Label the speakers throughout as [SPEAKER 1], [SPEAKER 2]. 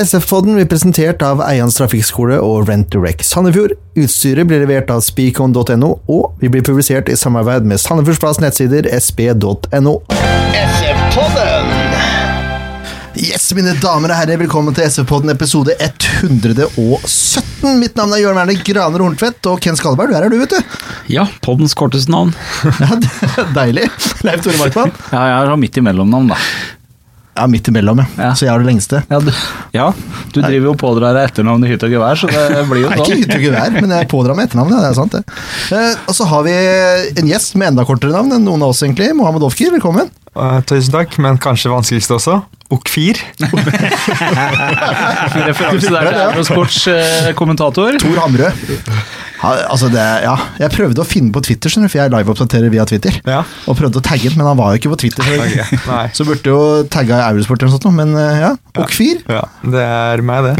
[SPEAKER 1] SF-podden blir presentert av Eians Trafikkskole og Rent Direct Sandefjord. Utstyret blir levert av speakon.no, og vi blir publisert i samarbeid med Sandefjordsplass nettsider sp.no. Yes, mine damer og herrer, velkommen til SF-podden episode 117. Mitt navn er Jørn Werner Graner Horntvedt, og Ken Skalberg, du er her du, vet du.
[SPEAKER 2] Ja, poddens korteste navn.
[SPEAKER 1] Ja, det er Deilig. Leif Tore Markmann.
[SPEAKER 2] Ja, jeg har midt imellomnavn, da.
[SPEAKER 1] Ja, midt imellom, ja.
[SPEAKER 2] Ja.
[SPEAKER 1] Så jeg har det lengste.
[SPEAKER 2] Ja, du, driver jo og pådrar deg etternavn i hytt og gevær, så det blir jo
[SPEAKER 1] Nei, ikke
[SPEAKER 2] sånn.
[SPEAKER 1] hytte og gevær, men jeg pådrar meg etternavnet. Ja, det er sant, det. Eh, og så har vi en gjest med enda kortere navn enn noen av oss, egentlig. Mohammed Ofker, velkommen.
[SPEAKER 3] Eh, tusen takk, men kanskje det vanskeligste også. Okfir.
[SPEAKER 2] Referanse der til Eurosports eh, kommentator.
[SPEAKER 1] Tor Hamrø. Ja, altså det, ja. Jeg prøvde å finne på Twitter, skjønner du, for jeg liveoppdaterer via Twitter.
[SPEAKER 3] Ja.
[SPEAKER 1] Og prøvde å tagge den, men han var jo ikke på Twitter. Så,
[SPEAKER 3] Nei.
[SPEAKER 1] så burde jo tagga Eurosport eller noe sånt, noe, men eh, ja. Okfir.
[SPEAKER 3] Ja, det er meg, det.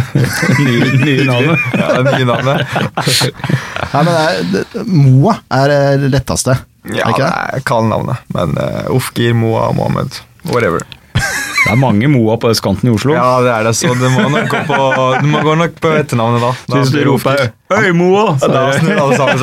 [SPEAKER 2] Nye, nye navnet.
[SPEAKER 3] Ja, det nye navnet.
[SPEAKER 1] Ja, men det er, det, Moa er eh, det letteste. er
[SPEAKER 3] Ja, det
[SPEAKER 1] ikke det?
[SPEAKER 3] er kallenavnet. Men uh, Ofgir, Moa og Mohammed. Whatever.
[SPEAKER 2] Det er mange Moa på østkanten i Oslo.
[SPEAKER 3] Ja, det er det, så det må nok gå på, det må gå nok på etternavnet, da. da
[SPEAKER 2] Hvis du
[SPEAKER 3] blir det
[SPEAKER 2] roper
[SPEAKER 3] Ofgir.
[SPEAKER 2] 'Øy, Moa', så
[SPEAKER 3] Da
[SPEAKER 2] er det-
[SPEAKER 3] snur alle sammen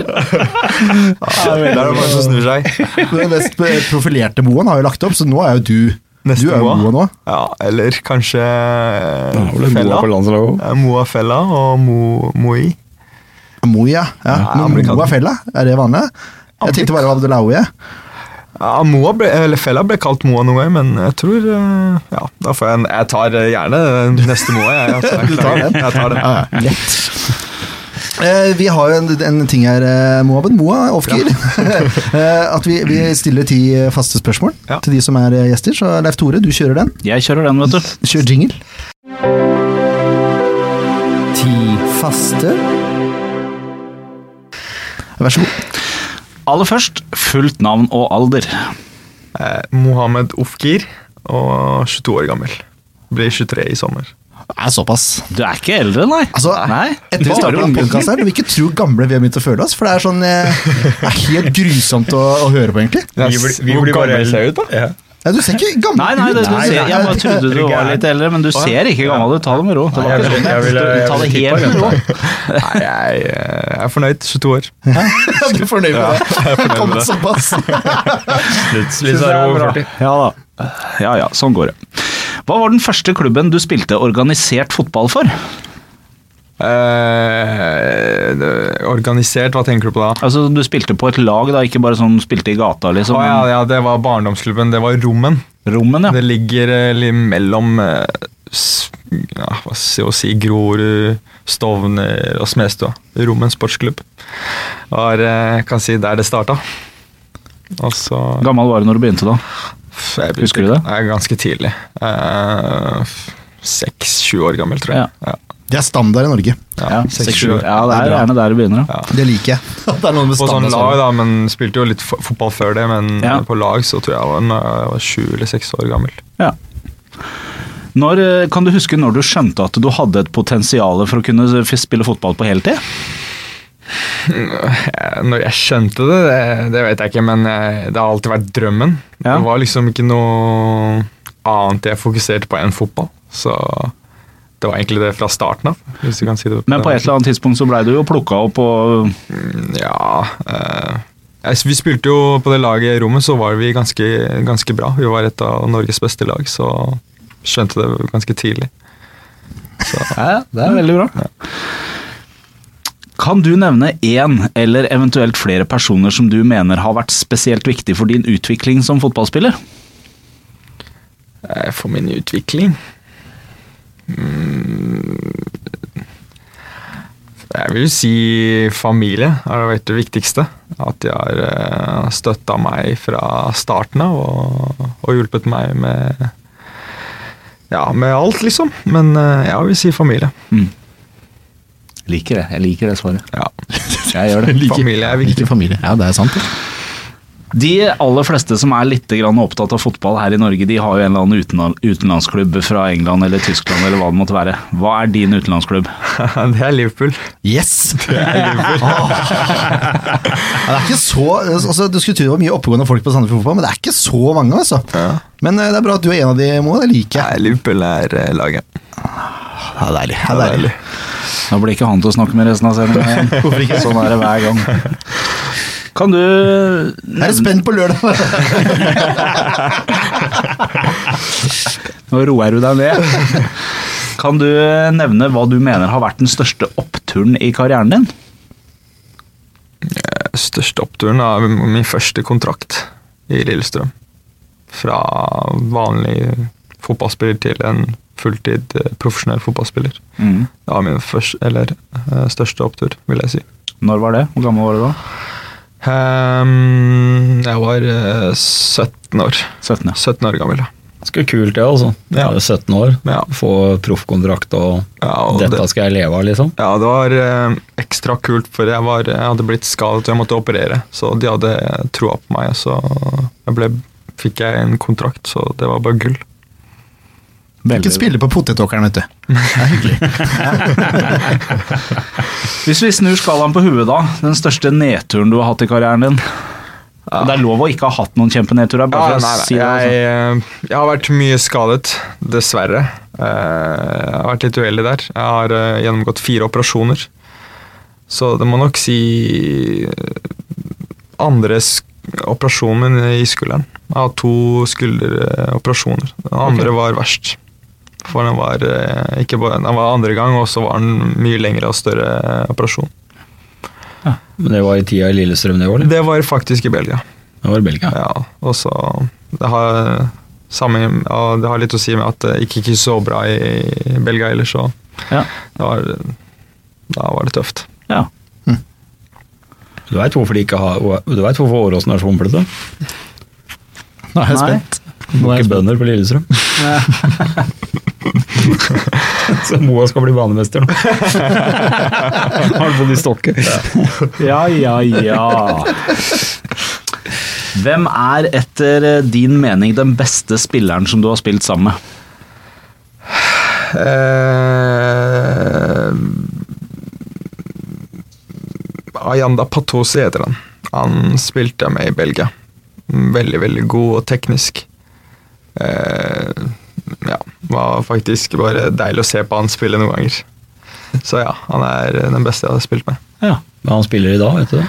[SPEAKER 3] seg. Ja, det er det mange som snur seg.
[SPEAKER 1] Den mest eh, profilerte Moaen har jo lagt opp, så nå er jo du
[SPEAKER 3] Neste
[SPEAKER 1] Du er jo
[SPEAKER 3] Moa.
[SPEAKER 1] Moa nå.
[SPEAKER 3] Ja, eller kanskje eh,
[SPEAKER 2] Da var det
[SPEAKER 3] Fella.
[SPEAKER 2] Moa på landslaget også.
[SPEAKER 3] Ja, Moa Fella og Mo, Moi.
[SPEAKER 1] Moia. Ja. Men
[SPEAKER 3] amerikaner.
[SPEAKER 1] Moa Fella, er det vanlig? Jeg tenkte bare Abdelawi. jeg.
[SPEAKER 3] Ja, Moa ble, eller Fella ble kalt Moa noen gang, men jeg tror eh, Ja, da får jeg en Jeg tar eh, gjerne neste Moa, jeg. Altså, jeg,
[SPEAKER 1] Du tar den?
[SPEAKER 3] Jeg tar den.
[SPEAKER 1] Ja, ja. Lett. Eh, vi har jo en, en ting her, eh, Moaben. Moa Ofkir. eh, at vi, vi stiller ti eh, faste spørsmål
[SPEAKER 3] Ja.
[SPEAKER 1] til de som er eh, gjester. Så Leif Tore, du kjører den.
[SPEAKER 2] Jeg kjører den, vet du.
[SPEAKER 1] Kjør jingle. Ti faste Vær så god.
[SPEAKER 2] Aller først, fullt navn og alder.
[SPEAKER 3] Eh, Mohammed Ofkir og 22 år gammel. Blir 23 i sommer.
[SPEAKER 1] Det er såpass.
[SPEAKER 2] Du er ikke eldre, nei?
[SPEAKER 1] Altså,
[SPEAKER 2] nei.
[SPEAKER 1] Etter vi
[SPEAKER 2] Bare
[SPEAKER 1] startet denne
[SPEAKER 2] unggutten.
[SPEAKER 1] podcasten her, du vil ikke tro gamle vi har begynt å føle oss. For det er sånn eh, Det er helt grusomt å, å høre på, egentlig.
[SPEAKER 3] Vi
[SPEAKER 4] blir- vi blir bare eldre.
[SPEAKER 3] ser ut, da?
[SPEAKER 1] Ja, du ser ikke gammel
[SPEAKER 2] Nei, nei, det, du
[SPEAKER 1] Nei,
[SPEAKER 2] ser,
[SPEAKER 1] nei,
[SPEAKER 2] jeg bare
[SPEAKER 1] det-
[SPEAKER 2] trodde du var litt eldre, men du ser ikke gammel ut. Ta det med ro. Det
[SPEAKER 4] Nei,
[SPEAKER 2] var
[SPEAKER 4] jeg
[SPEAKER 2] ikke sånn.
[SPEAKER 4] ville- jeg ville-
[SPEAKER 2] Du
[SPEAKER 4] jeg
[SPEAKER 2] tar det
[SPEAKER 4] ville
[SPEAKER 2] helt med
[SPEAKER 4] tippa,
[SPEAKER 2] ro.
[SPEAKER 3] Nei, jeg, eh, jeg er fornøyd. 22 år.
[SPEAKER 1] Ja, du er fornøyd med det? det kom såpass.
[SPEAKER 4] Plutselig så er det over 40.
[SPEAKER 2] Ja da. Ja ja, sånn går det. Hva var den første klubben du spilte organisert fotball for?
[SPEAKER 3] Eh, det- organisert, hva tenker du på da?
[SPEAKER 2] Altså, du spilte på et lag, da, ikke bare sånn spilte i gata, liksom.
[SPEAKER 3] Å, ja, ja, det var barndomsklubben. Det var Rommen.
[SPEAKER 2] Rommen, ja.
[SPEAKER 3] Det ligger eh, litt mellom eh, s- ja, hva skal jeg si, Grorud, Stovner og Smedstua. Rommen sportsklubb. Var, eh, kan si der det starta. Og så
[SPEAKER 2] Gammel var du når du begynte, da?
[SPEAKER 3] f- jeg begynte-
[SPEAKER 2] Husker du det?
[SPEAKER 3] Ja, ganske tidlig. Eh, Seks-sju år gammel, tror jeg. Ja.
[SPEAKER 1] Det er standard i Norge.
[SPEAKER 2] Ja,
[SPEAKER 3] seks,
[SPEAKER 2] seks,
[SPEAKER 3] sju
[SPEAKER 2] sju.
[SPEAKER 3] år.
[SPEAKER 2] ja det er gjerne der det begynner. da.
[SPEAKER 1] Det liker jeg. Det er noen med
[SPEAKER 3] På sånn
[SPEAKER 1] standard
[SPEAKER 3] lag,
[SPEAKER 1] sånn.
[SPEAKER 3] da, men spilte jo litt fo- fotball før det. Men
[SPEAKER 2] Ja.
[SPEAKER 3] på lag så tror jeg jeg var- når jeg var sju eller seks år gammel.
[SPEAKER 2] Ja. Når, eh, kan du huske når du skjønte at du hadde et potensial for å kunne f- spille fotball på heltid?
[SPEAKER 3] Eh, Når jeg skjønte det, det, det vet jeg ikke, men eh, det har alltid vært drømmen.
[SPEAKER 2] Ja.
[SPEAKER 3] Det var liksom ikke noe annet jeg fokuserte på enn fotball. Så det var egentlig det fra starten av. hvis du kan si det.
[SPEAKER 2] Men på et eller annet tidspunkt så blei du jo plukka opp og
[SPEAKER 3] annet Ja. eh, altså, vi spilte jo på det laget i rommet, så var vi ganske, ganske bra. Vi var et av Norges beste lag, så skjønte det ganske tidlig.
[SPEAKER 2] Ja, det er veldig bra. Kan du nevne én eller eventuelt flere personer som du mener har vært spesielt viktig for din utvikling som fotballspiller?
[SPEAKER 3] Eh, For min utvikling Mm, Jeg vil si familie har vært det viktigste. At de har støtta meg fra starten av og, og hjulpet meg med Ja, med alt, liksom. Men eh, jeg vil si familie.
[SPEAKER 2] Liker det. Jeg liker det svaret.
[SPEAKER 3] Ja.
[SPEAKER 2] Jeg gjør det.
[SPEAKER 3] Familie er viktig.
[SPEAKER 1] Liker familie. Ja, det er sant. det.
[SPEAKER 2] De aller fleste som er litt grann opptatt av fotball her i Norge, de har jo en eller annen utenal- utenlandsklubb fra England eller Tyskland eller hva det måtte være. Hva er din utenlandsklubb?
[SPEAKER 3] Det er Liverpool.
[SPEAKER 1] Yes! Det er, det er ikke så altså, Du skulle tro det var mye oppegående folk på Sandefjord Fotball, men det er ikke så mange, altså. Men eh, det er bra at du er en av de, Moen. Det liker jeg.
[SPEAKER 3] Nei, Liverpool er eh, laget.
[SPEAKER 1] Ja, det er deilig. Ja, det er deilig.
[SPEAKER 2] Da blir ikke han til å snakke med resten av sendinga igjen. Hvorfor ikke? Sånn er det hver gang. Kan du
[SPEAKER 1] Jeg er spent på lørdag.
[SPEAKER 2] Nå roer du deg ned. Kan du nevne hva du mener har vært den største oppturen i karrieren din?
[SPEAKER 3] Største oppturen er min første kontrakt i Lillestrøm. Fra vanlig fotballspiller til en fulltid eh, profesjonell fotballspiller.
[SPEAKER 2] Mm.
[SPEAKER 3] Det var min første, eller, eh, største opptur, vil jeg si.
[SPEAKER 2] Når var det? Hvor gammel var du da?
[SPEAKER 3] Ehm, jeg var eh, 17 år.
[SPEAKER 2] 17, ja.
[SPEAKER 3] 17 år gammel, ja.
[SPEAKER 4] Ganske kult, det, altså. Jeg er jo 17 år,
[SPEAKER 3] Ja.
[SPEAKER 4] få proffkontrakt og
[SPEAKER 3] ja og det,
[SPEAKER 4] Dette skal jeg leve av, liksom.
[SPEAKER 3] ja, det var eh, ekstra kult, for jeg, var, jeg hadde blitt skadet og jeg måtte operere. Så de hadde eh, troa på meg, så jeg ble, fikk jeg en kontrakt, så det var bare gull.
[SPEAKER 1] Ikke spille på potetåkeren, vet du.
[SPEAKER 2] Hvis vi snur skalaen på huet, da. Den største nedturen du har hatt i karrieren din. Det er lov å ikke ha hatt noen kjempenedturer.
[SPEAKER 3] Ja,
[SPEAKER 2] Bare
[SPEAKER 3] nei,
[SPEAKER 2] for å
[SPEAKER 3] nei.
[SPEAKER 2] si det.
[SPEAKER 3] Jeg,
[SPEAKER 2] altså.
[SPEAKER 3] eh, jeg har vært mye skadet, dessverre. Eh, Jeg har vært litt uheldig der. Jeg har eh, gjennomgått fire operasjoner. Så det må nok si eh, andre sk- operasjonen min i skulderen. Jeg har hatt to skulderoperasjoner. Den andre var verst. For den var, eh, ikke bare, den var andre gang, og så var den mye lengre og større eh, operasjon.
[SPEAKER 4] Men det var i tida i Lillestrøm det år, eller?
[SPEAKER 3] Det var faktisk i Belgia.
[SPEAKER 4] Det var i Belgia.
[SPEAKER 3] Ja, og så det har, samme, ja, det har litt å si med at det gikk ikke så bra i Belgia ellers, så
[SPEAKER 2] Ja.
[SPEAKER 3] det var, da var det tøft.
[SPEAKER 2] Ja.
[SPEAKER 4] Du veit hvorfor de ikke har Du vet hvorfor Åråsen er så humplete?
[SPEAKER 1] Nå er jeg
[SPEAKER 2] Nei.
[SPEAKER 1] spent.
[SPEAKER 4] Det var ikke bønder på Lillestrøm. så Moa skal bli banemester nå. Har bodd i Stokke.
[SPEAKER 2] Ja, ja, ja. Hvem er etter eh, din mening den beste spilleren som du har spilt sammen med?
[SPEAKER 3] Eh, Ayanda Patosi heter han. Han spilte jeg med i Belgia. Veldig, veldig god og teknisk. Eh, ja, var faktisk bare deilig å se på han spille noen ganger. Så ja, han er den beste jeg har spilt med.
[SPEAKER 2] Ja.
[SPEAKER 4] Men han spiller i dag, vet du det?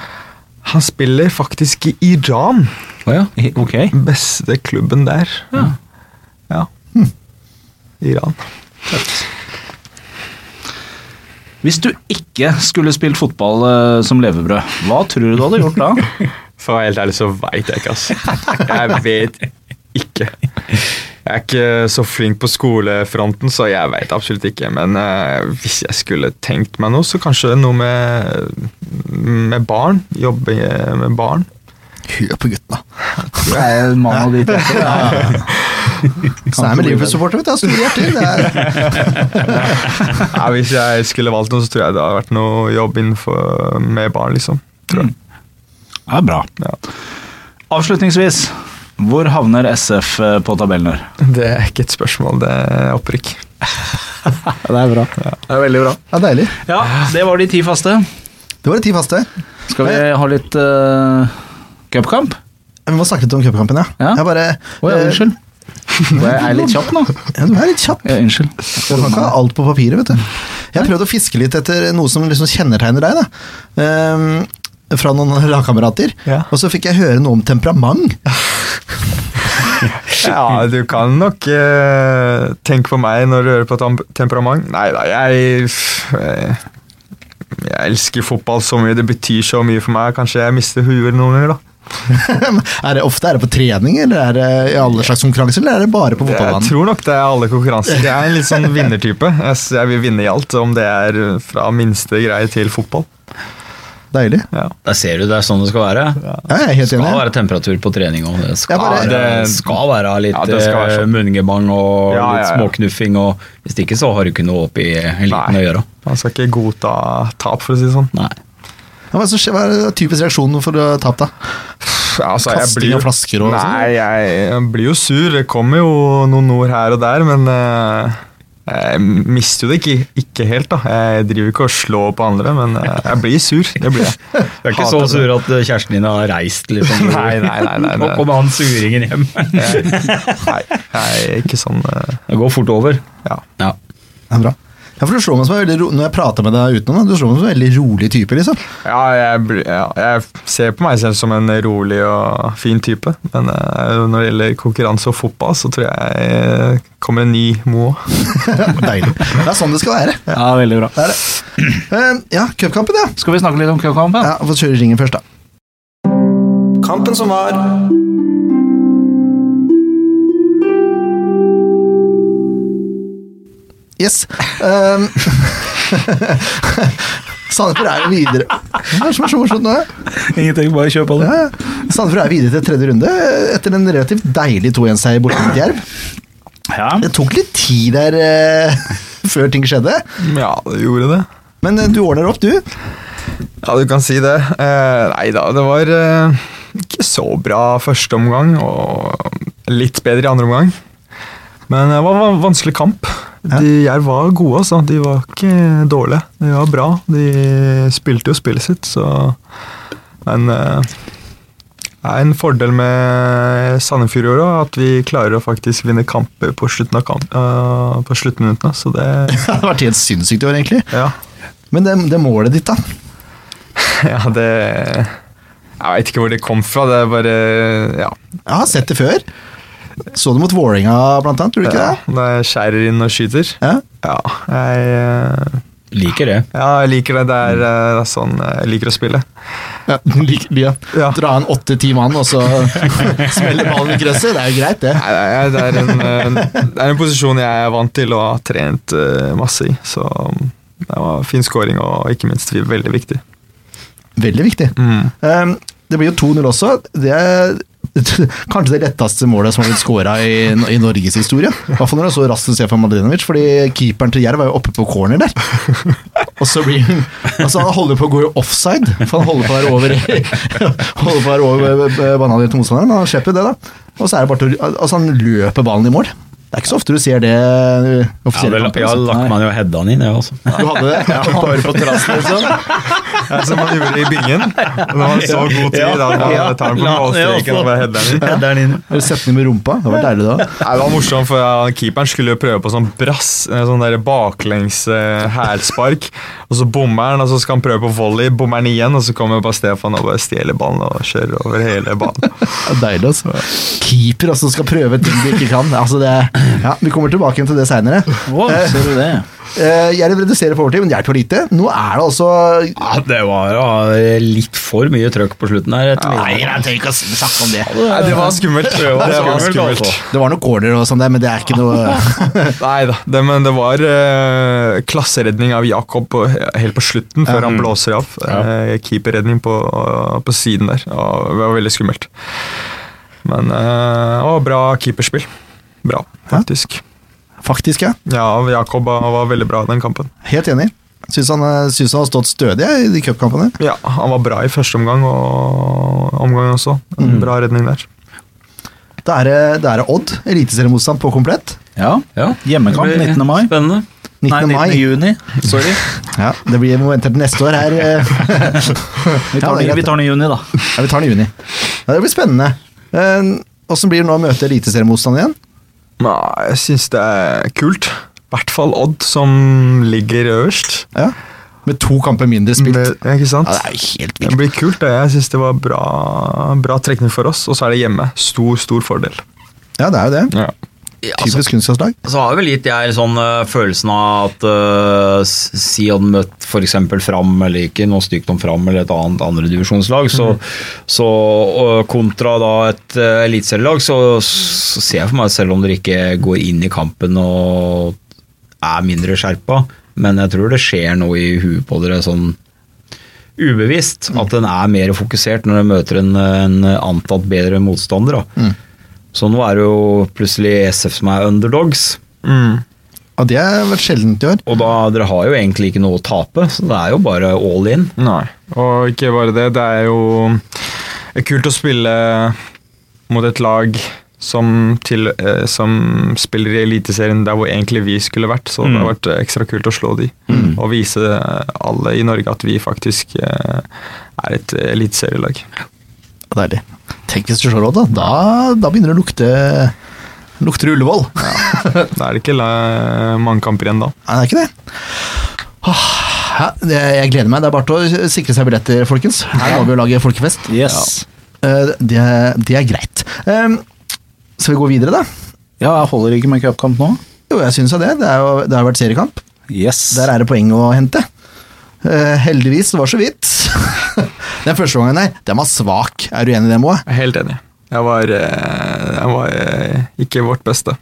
[SPEAKER 3] Han spiller faktisk i Iran.
[SPEAKER 4] Å ja.
[SPEAKER 2] Ok.
[SPEAKER 3] Beste klubben der. Ja. Hm. Iran.
[SPEAKER 2] Hvis du ikke skulle spilt fotball eh, som levebrød, hva tror du du hadde gjort da?
[SPEAKER 3] For å være helt ærlig så veit jeg ikke, ass. Jeg vet ikke. Jeg er ikke så flink på skolefronten, så jeg veit absolutt ikke. Men eh, hvis jeg skulle tenkt meg noe, så kanskje noe med, med barn. Jobbe med barn.
[SPEAKER 1] Hør på gutten, da.
[SPEAKER 2] Det er en mann av de tette.
[SPEAKER 1] Så er jeg med Liverpool-supporter, vet du. Jeg har store hjerter. Det er-
[SPEAKER 3] Nei, hvis jeg skulle valgt noe, så tror jeg det hadde vært noe jobb innenfor med barn, liksom. Tror jeg.
[SPEAKER 2] Det er bra.
[SPEAKER 3] Ja.
[SPEAKER 2] Avslutningsvis, hvor havner SF på tabellen her?
[SPEAKER 3] Det er ikke et spørsmål, det er opprykk.
[SPEAKER 1] Ja, det er bra.
[SPEAKER 2] Det er veldig bra.
[SPEAKER 1] Ja, deilig.
[SPEAKER 2] Ja, det var de ti faste.
[SPEAKER 1] Det var de ti faste.
[SPEAKER 2] Skal vi ha litt eh, cupkamp?
[SPEAKER 1] Vi må snakke litt om cupkampen, ja.
[SPEAKER 2] Ja.
[SPEAKER 1] Jeg bare
[SPEAKER 2] Å ja,
[SPEAKER 1] eh,
[SPEAKER 2] unnskyld. Eh, Jeg er litt kjapp nå.
[SPEAKER 1] Ja, du er litt kjapp.
[SPEAKER 2] Ja, unnskyld.
[SPEAKER 1] Du kan ikke ha alt på papiret, vet du. Jeg har prøvd å fiske litt etter noe som liksom kjennetegner deg, da. Ehm, fra noen lagkamerater.
[SPEAKER 3] Ja.
[SPEAKER 1] Og så fikk jeg høre noe om temperament.
[SPEAKER 3] Ja, du kan nok eh, tenke på meg når du hører på tam- temperament. Nei da, jeg f- eh, Jeg elsker fotball så mye, det betyr så mye for meg. Kanskje jeg mister huet noen ganger, da.
[SPEAKER 1] er det ofte er det på trening, eller er det i alle slags konkurranser, eller er det bare på
[SPEAKER 3] Jeg
[SPEAKER 1] fotballbanen?
[SPEAKER 3] tror nok det er alle konkurranser. Jeg er en litt sånn vinnertype. Jeg s- Jeg vil vinne i alt, om det er eh, fra minste greie til fotball.
[SPEAKER 1] Deilig.
[SPEAKER 3] Ja.
[SPEAKER 4] Der ser du, det er sånn det skal være.
[SPEAKER 1] Ja, jeg er
[SPEAKER 4] Det
[SPEAKER 1] helt
[SPEAKER 4] skal
[SPEAKER 1] enig.
[SPEAKER 4] være temperatur på trening og det skal,
[SPEAKER 1] Ja, bare-
[SPEAKER 4] være,
[SPEAKER 3] Det-
[SPEAKER 4] skal være litt
[SPEAKER 3] Ja, det skal være
[SPEAKER 4] eh,
[SPEAKER 3] sånn.
[SPEAKER 4] munngemang og
[SPEAKER 3] Ja,
[SPEAKER 4] litt
[SPEAKER 3] ja, ja.
[SPEAKER 4] småknuffing. Og, hvis ikke så har du ikke noe oppi eliten
[SPEAKER 3] Nei.
[SPEAKER 4] å gjøre.
[SPEAKER 3] Man skal ikke godta tap, for å si det sånn.
[SPEAKER 4] Nei.
[SPEAKER 1] Ja, hva er det som skjer- hva er typisk reaksjonen for å tape, da?
[SPEAKER 3] Ja, altså, jeg
[SPEAKER 1] Kasting
[SPEAKER 3] blir jo-
[SPEAKER 1] av flasker og sånn,
[SPEAKER 3] Nei, jeg, jeg blir jo sur. Det kommer jo noen ord her og der, men eh, Jeg mister jo det ikke, ikke helt, da. Jeg driver ikke og slår på andre, men eh, jeg blir sur. Det blir jeg.
[SPEAKER 4] Du er ikke så
[SPEAKER 3] Hater det.
[SPEAKER 4] sur at eh, kjæresten din har reist, liksom?
[SPEAKER 3] Nei, nei, nei, nei,
[SPEAKER 4] Nå
[SPEAKER 3] det-
[SPEAKER 4] kom han suringen hjem.
[SPEAKER 3] Nei, jeg er ikke sånn eh,
[SPEAKER 4] Det går fort over.
[SPEAKER 3] Ja.
[SPEAKER 4] Ja.
[SPEAKER 1] Ja, bra. Ja, for du slår meg som en veldig ro Når jeg prater med deg utenom, da, du slår meg som en veldig rolig type, liksom.
[SPEAKER 3] Ja, jeg, blir- ja, jeg ser på meg selv som en rolig og fin type, men eh, når det gjelder konkurranse og fotball, så tror jeg eh, kommer en ny Mo.
[SPEAKER 1] Deilig. Det er sånn det skal være.
[SPEAKER 2] Ja, veldig bra.
[SPEAKER 1] Det er det. Eh, ja, cupkampen, ja.
[SPEAKER 2] Skal vi snakke litt om cupkampen?
[SPEAKER 1] ja. Få kjøre ringen først, da. Kampen som var Yes. Um, Sandefjord er jo videre Hva er det som er så morsomt nå?
[SPEAKER 2] Ingenting, bare kjør på
[SPEAKER 1] Ja, ja. Sandefjord er videre til tredje runde etter en relativt deilig 2-1-seier borte mot Jerv.
[SPEAKER 2] Ja.
[SPEAKER 1] Det tok litt tid der eh, før ting skjedde,
[SPEAKER 3] Ja, det gjorde det.
[SPEAKER 1] men eh, du ordner opp, du.
[SPEAKER 3] Ja, du kan si det. Eh, nei da, det var eh, ikke så bra første omgang, og litt bedre i andre omgang. Men eh, det var en vanskelig kamp. De Jerv var gode, altså. De var ikke dårlige. De var bra. De spilte jo spillet sitt, så Men eh, det er en fordel med Sandefjord i år også, at vi klarer å faktisk vinne kamper på slutten av kamp, eh, på sluttminuttene. Så det
[SPEAKER 1] Det har vært helt sinnssykt i år, egentlig.
[SPEAKER 3] Ja.
[SPEAKER 1] Men det, det målet ditt, da?
[SPEAKER 3] Ja, det Jeg veit ikke hvor det kom fra. Det er bare Ja.
[SPEAKER 1] Jeg har sett det før. Så du mot Vålerenga, blant annet? Tror du ikke
[SPEAKER 3] ja,
[SPEAKER 1] det?
[SPEAKER 3] Når jeg skjærer inn og skyter.
[SPEAKER 1] Ja.
[SPEAKER 3] Ja, jeg, eh,
[SPEAKER 4] Liker det.
[SPEAKER 3] ja, jeg liker det. Det er, eh, det er sånn jeg liker å spille.
[SPEAKER 1] Ja, lik- lik-
[SPEAKER 3] Ja.
[SPEAKER 1] Dra en åtte-ti mann, og så smelle ballen i krysset. Det er jo greit, det.
[SPEAKER 3] Nei, nei, Det er en, eh, det er en posisjon jeg er vant til og har trent eh, masse i. Så mm, det var fin scoring og ikke minst veldig viktig.
[SPEAKER 1] Veldig viktig.
[SPEAKER 3] Mm.
[SPEAKER 1] Um, det blir jo 2-0 også. Det er kanskje det letteste målet som har blitt skåra i, i Norges historie. I hvert fall når jeg så raskt Stefan Madrinovic, fordi keeperen til Jerv var jo oppe på corner der. Og så blir han altså Han holder på å gå i offside, for han holder på å være over Holder på å være over eh, bananen til motstanderen, men han slipper jo det, da. Og så er det bare til å Altså, han løper ballen i mål. Det er ikke så ofte du ser det eh,
[SPEAKER 4] Ja,
[SPEAKER 1] offisielle
[SPEAKER 4] det
[SPEAKER 1] kampen.
[SPEAKER 4] jeg har
[SPEAKER 1] altså.
[SPEAKER 4] lagt meg ned og hedda han inn, jeg også.
[SPEAKER 1] Du hadde det? Ja, bare på terrassen, liksom?
[SPEAKER 3] Ja, som han gjorde i bingen. Det var så god tid da han tar den på målstreken og bare header den inn.
[SPEAKER 4] Hedda han inn.
[SPEAKER 1] Eller sette den med rumpa? Det var deilig, da.
[SPEAKER 3] Nei, det var morsomt, for ja, Keeperen skulle jo prøve på sånn brass, eh, sånn der baklengs eh, hælspark. Og så bommer han, og så skal han prøve på volley, bommer han igjen, og så kommer bare Stefan og bare stjeler ballen og kjører over hele banen.
[SPEAKER 1] Ja, Deilig, altså. Keeper altså skal prøve ting de ikke kan. Altså det, ja, vi kommer tilbake igjen til det seinere.
[SPEAKER 2] Å, ser du det?
[SPEAKER 1] Jeg reduserer på overtid, men det hjelper lite. Nå er det altså
[SPEAKER 4] Ja, det var ja, litt for mye trøkk på slutten her. Etter middag.
[SPEAKER 1] jeg trenger ikke å snakke om det.
[SPEAKER 3] Nei, det var skummelt. Det var skummelt. altså.
[SPEAKER 1] Det var noen corner og sånn der, men det er ikke noe
[SPEAKER 3] Nei da, det, men det var eh, klasseredning av Jakob på, helt på slutten, før han blåser av. Eh, keeperredning på, på siden der. Og det var veldig skummelt. Men eh, å, bra keeperspill. Bra, faktisk.
[SPEAKER 1] Faktisk, ja.
[SPEAKER 3] Ja, Jakob var veldig bra i den kampen.
[SPEAKER 1] Helt enig. Syns han, eh, syns han har stått stødig jeg, i de cupkampene.
[SPEAKER 3] Ja, Han var bra i første omgang og omgang også. En Bra redning der.
[SPEAKER 1] Da er det- da er det Odd, eliteseriemotstand på komplett.
[SPEAKER 2] Ja.
[SPEAKER 4] Ja.
[SPEAKER 2] Hjemmekamp
[SPEAKER 4] Det blir
[SPEAKER 2] 19. mai.
[SPEAKER 4] Spennende.
[SPEAKER 1] 19.
[SPEAKER 2] Nei, 19.
[SPEAKER 1] mai.
[SPEAKER 2] juni. Sorry.
[SPEAKER 1] Ja, det blir vi må vente til neste år her. eh.
[SPEAKER 2] Vi tar, den, vi tar den i juni, da.
[SPEAKER 1] Ja, vi tar den i juni. Ja, det blir spennende. Åssen blir det nå å møte eliteseriemotstand igjen?
[SPEAKER 3] Nei, jeg syns det er kult. I hvert fall Odd, som ligger øverst.
[SPEAKER 1] Ja. Med to kamper mindre spilt.
[SPEAKER 3] Med, ja, ikke sant?
[SPEAKER 1] ja, det er jo helt
[SPEAKER 3] det
[SPEAKER 1] vilt.
[SPEAKER 3] blir kult. det. Jeg syns det var bra, bra trekning for oss. Og så er det hjemme. Stor, stor fordel.
[SPEAKER 1] Ja, det er jo det.
[SPEAKER 3] Ja.
[SPEAKER 4] Ja, altså,
[SPEAKER 1] Typisk kunstgresslag.
[SPEAKER 4] så har vel litt jeg sånn eh, følelsen av at eh, s- si hadde møtt f.eks. Fram, eller ikke noe stygt om Fram eller et annet andredivisjonslag, så, så eh, kontra da et eh, eliteserielag, så, så ser jeg for meg at selv om dere ikke går inn i kampen og er mindre skjerpa, men jeg tror det skjer noe i huet på dere sånn ubevisst. At den er mer fokusert når den møter en, en antatt bedre motstander. Da. Så nå er det jo plutselig SF som er underdogs,
[SPEAKER 3] Mm.
[SPEAKER 1] Ja, det har vært sjeldent i år.
[SPEAKER 4] og da dere har jo egentlig ikke noe å tape, så det er jo bare all in.
[SPEAKER 3] Nei, og eh, ikke bare det. Det er jo kult å spille mot et lag som, til, eh, som spiller i Eliteserien der hvor egentlig vi skulle vært. Så det har vært eh, ekstra kult å slå de, og vise alle i Norge at vi faktisk eh, er et eliteserielag.
[SPEAKER 1] Deilig. Tenk hvis du slår Odd, da. da. Da begynner det å lukte Lukter Ullevål.
[SPEAKER 3] Da er det ikke la- mange kamper igjen da.
[SPEAKER 1] Nei, det er ikke det. Åh, ja, det- jeg gleder meg. Det er bare til å sikre seg billetter, folkens. Her må vi jo lage folkefest.
[SPEAKER 2] Yes.
[SPEAKER 1] Eh, Det, det er greit. Ehm, Skal vi gå videre, da?
[SPEAKER 2] Ja, jeg holder ikke med cupkamp nå.
[SPEAKER 1] Jo, jeg syns jo det. Det, er jo, det har vært seriekamp.
[SPEAKER 2] Yes.
[SPEAKER 1] Der er det poeng å hente. Eh, heldigvis, det var så vidt. den første gangen her, den var svak. Er du enig i det, Moa?
[SPEAKER 3] Jeg er helt enig. Jeg var, eh, jeg var eh, ikke vårt beste.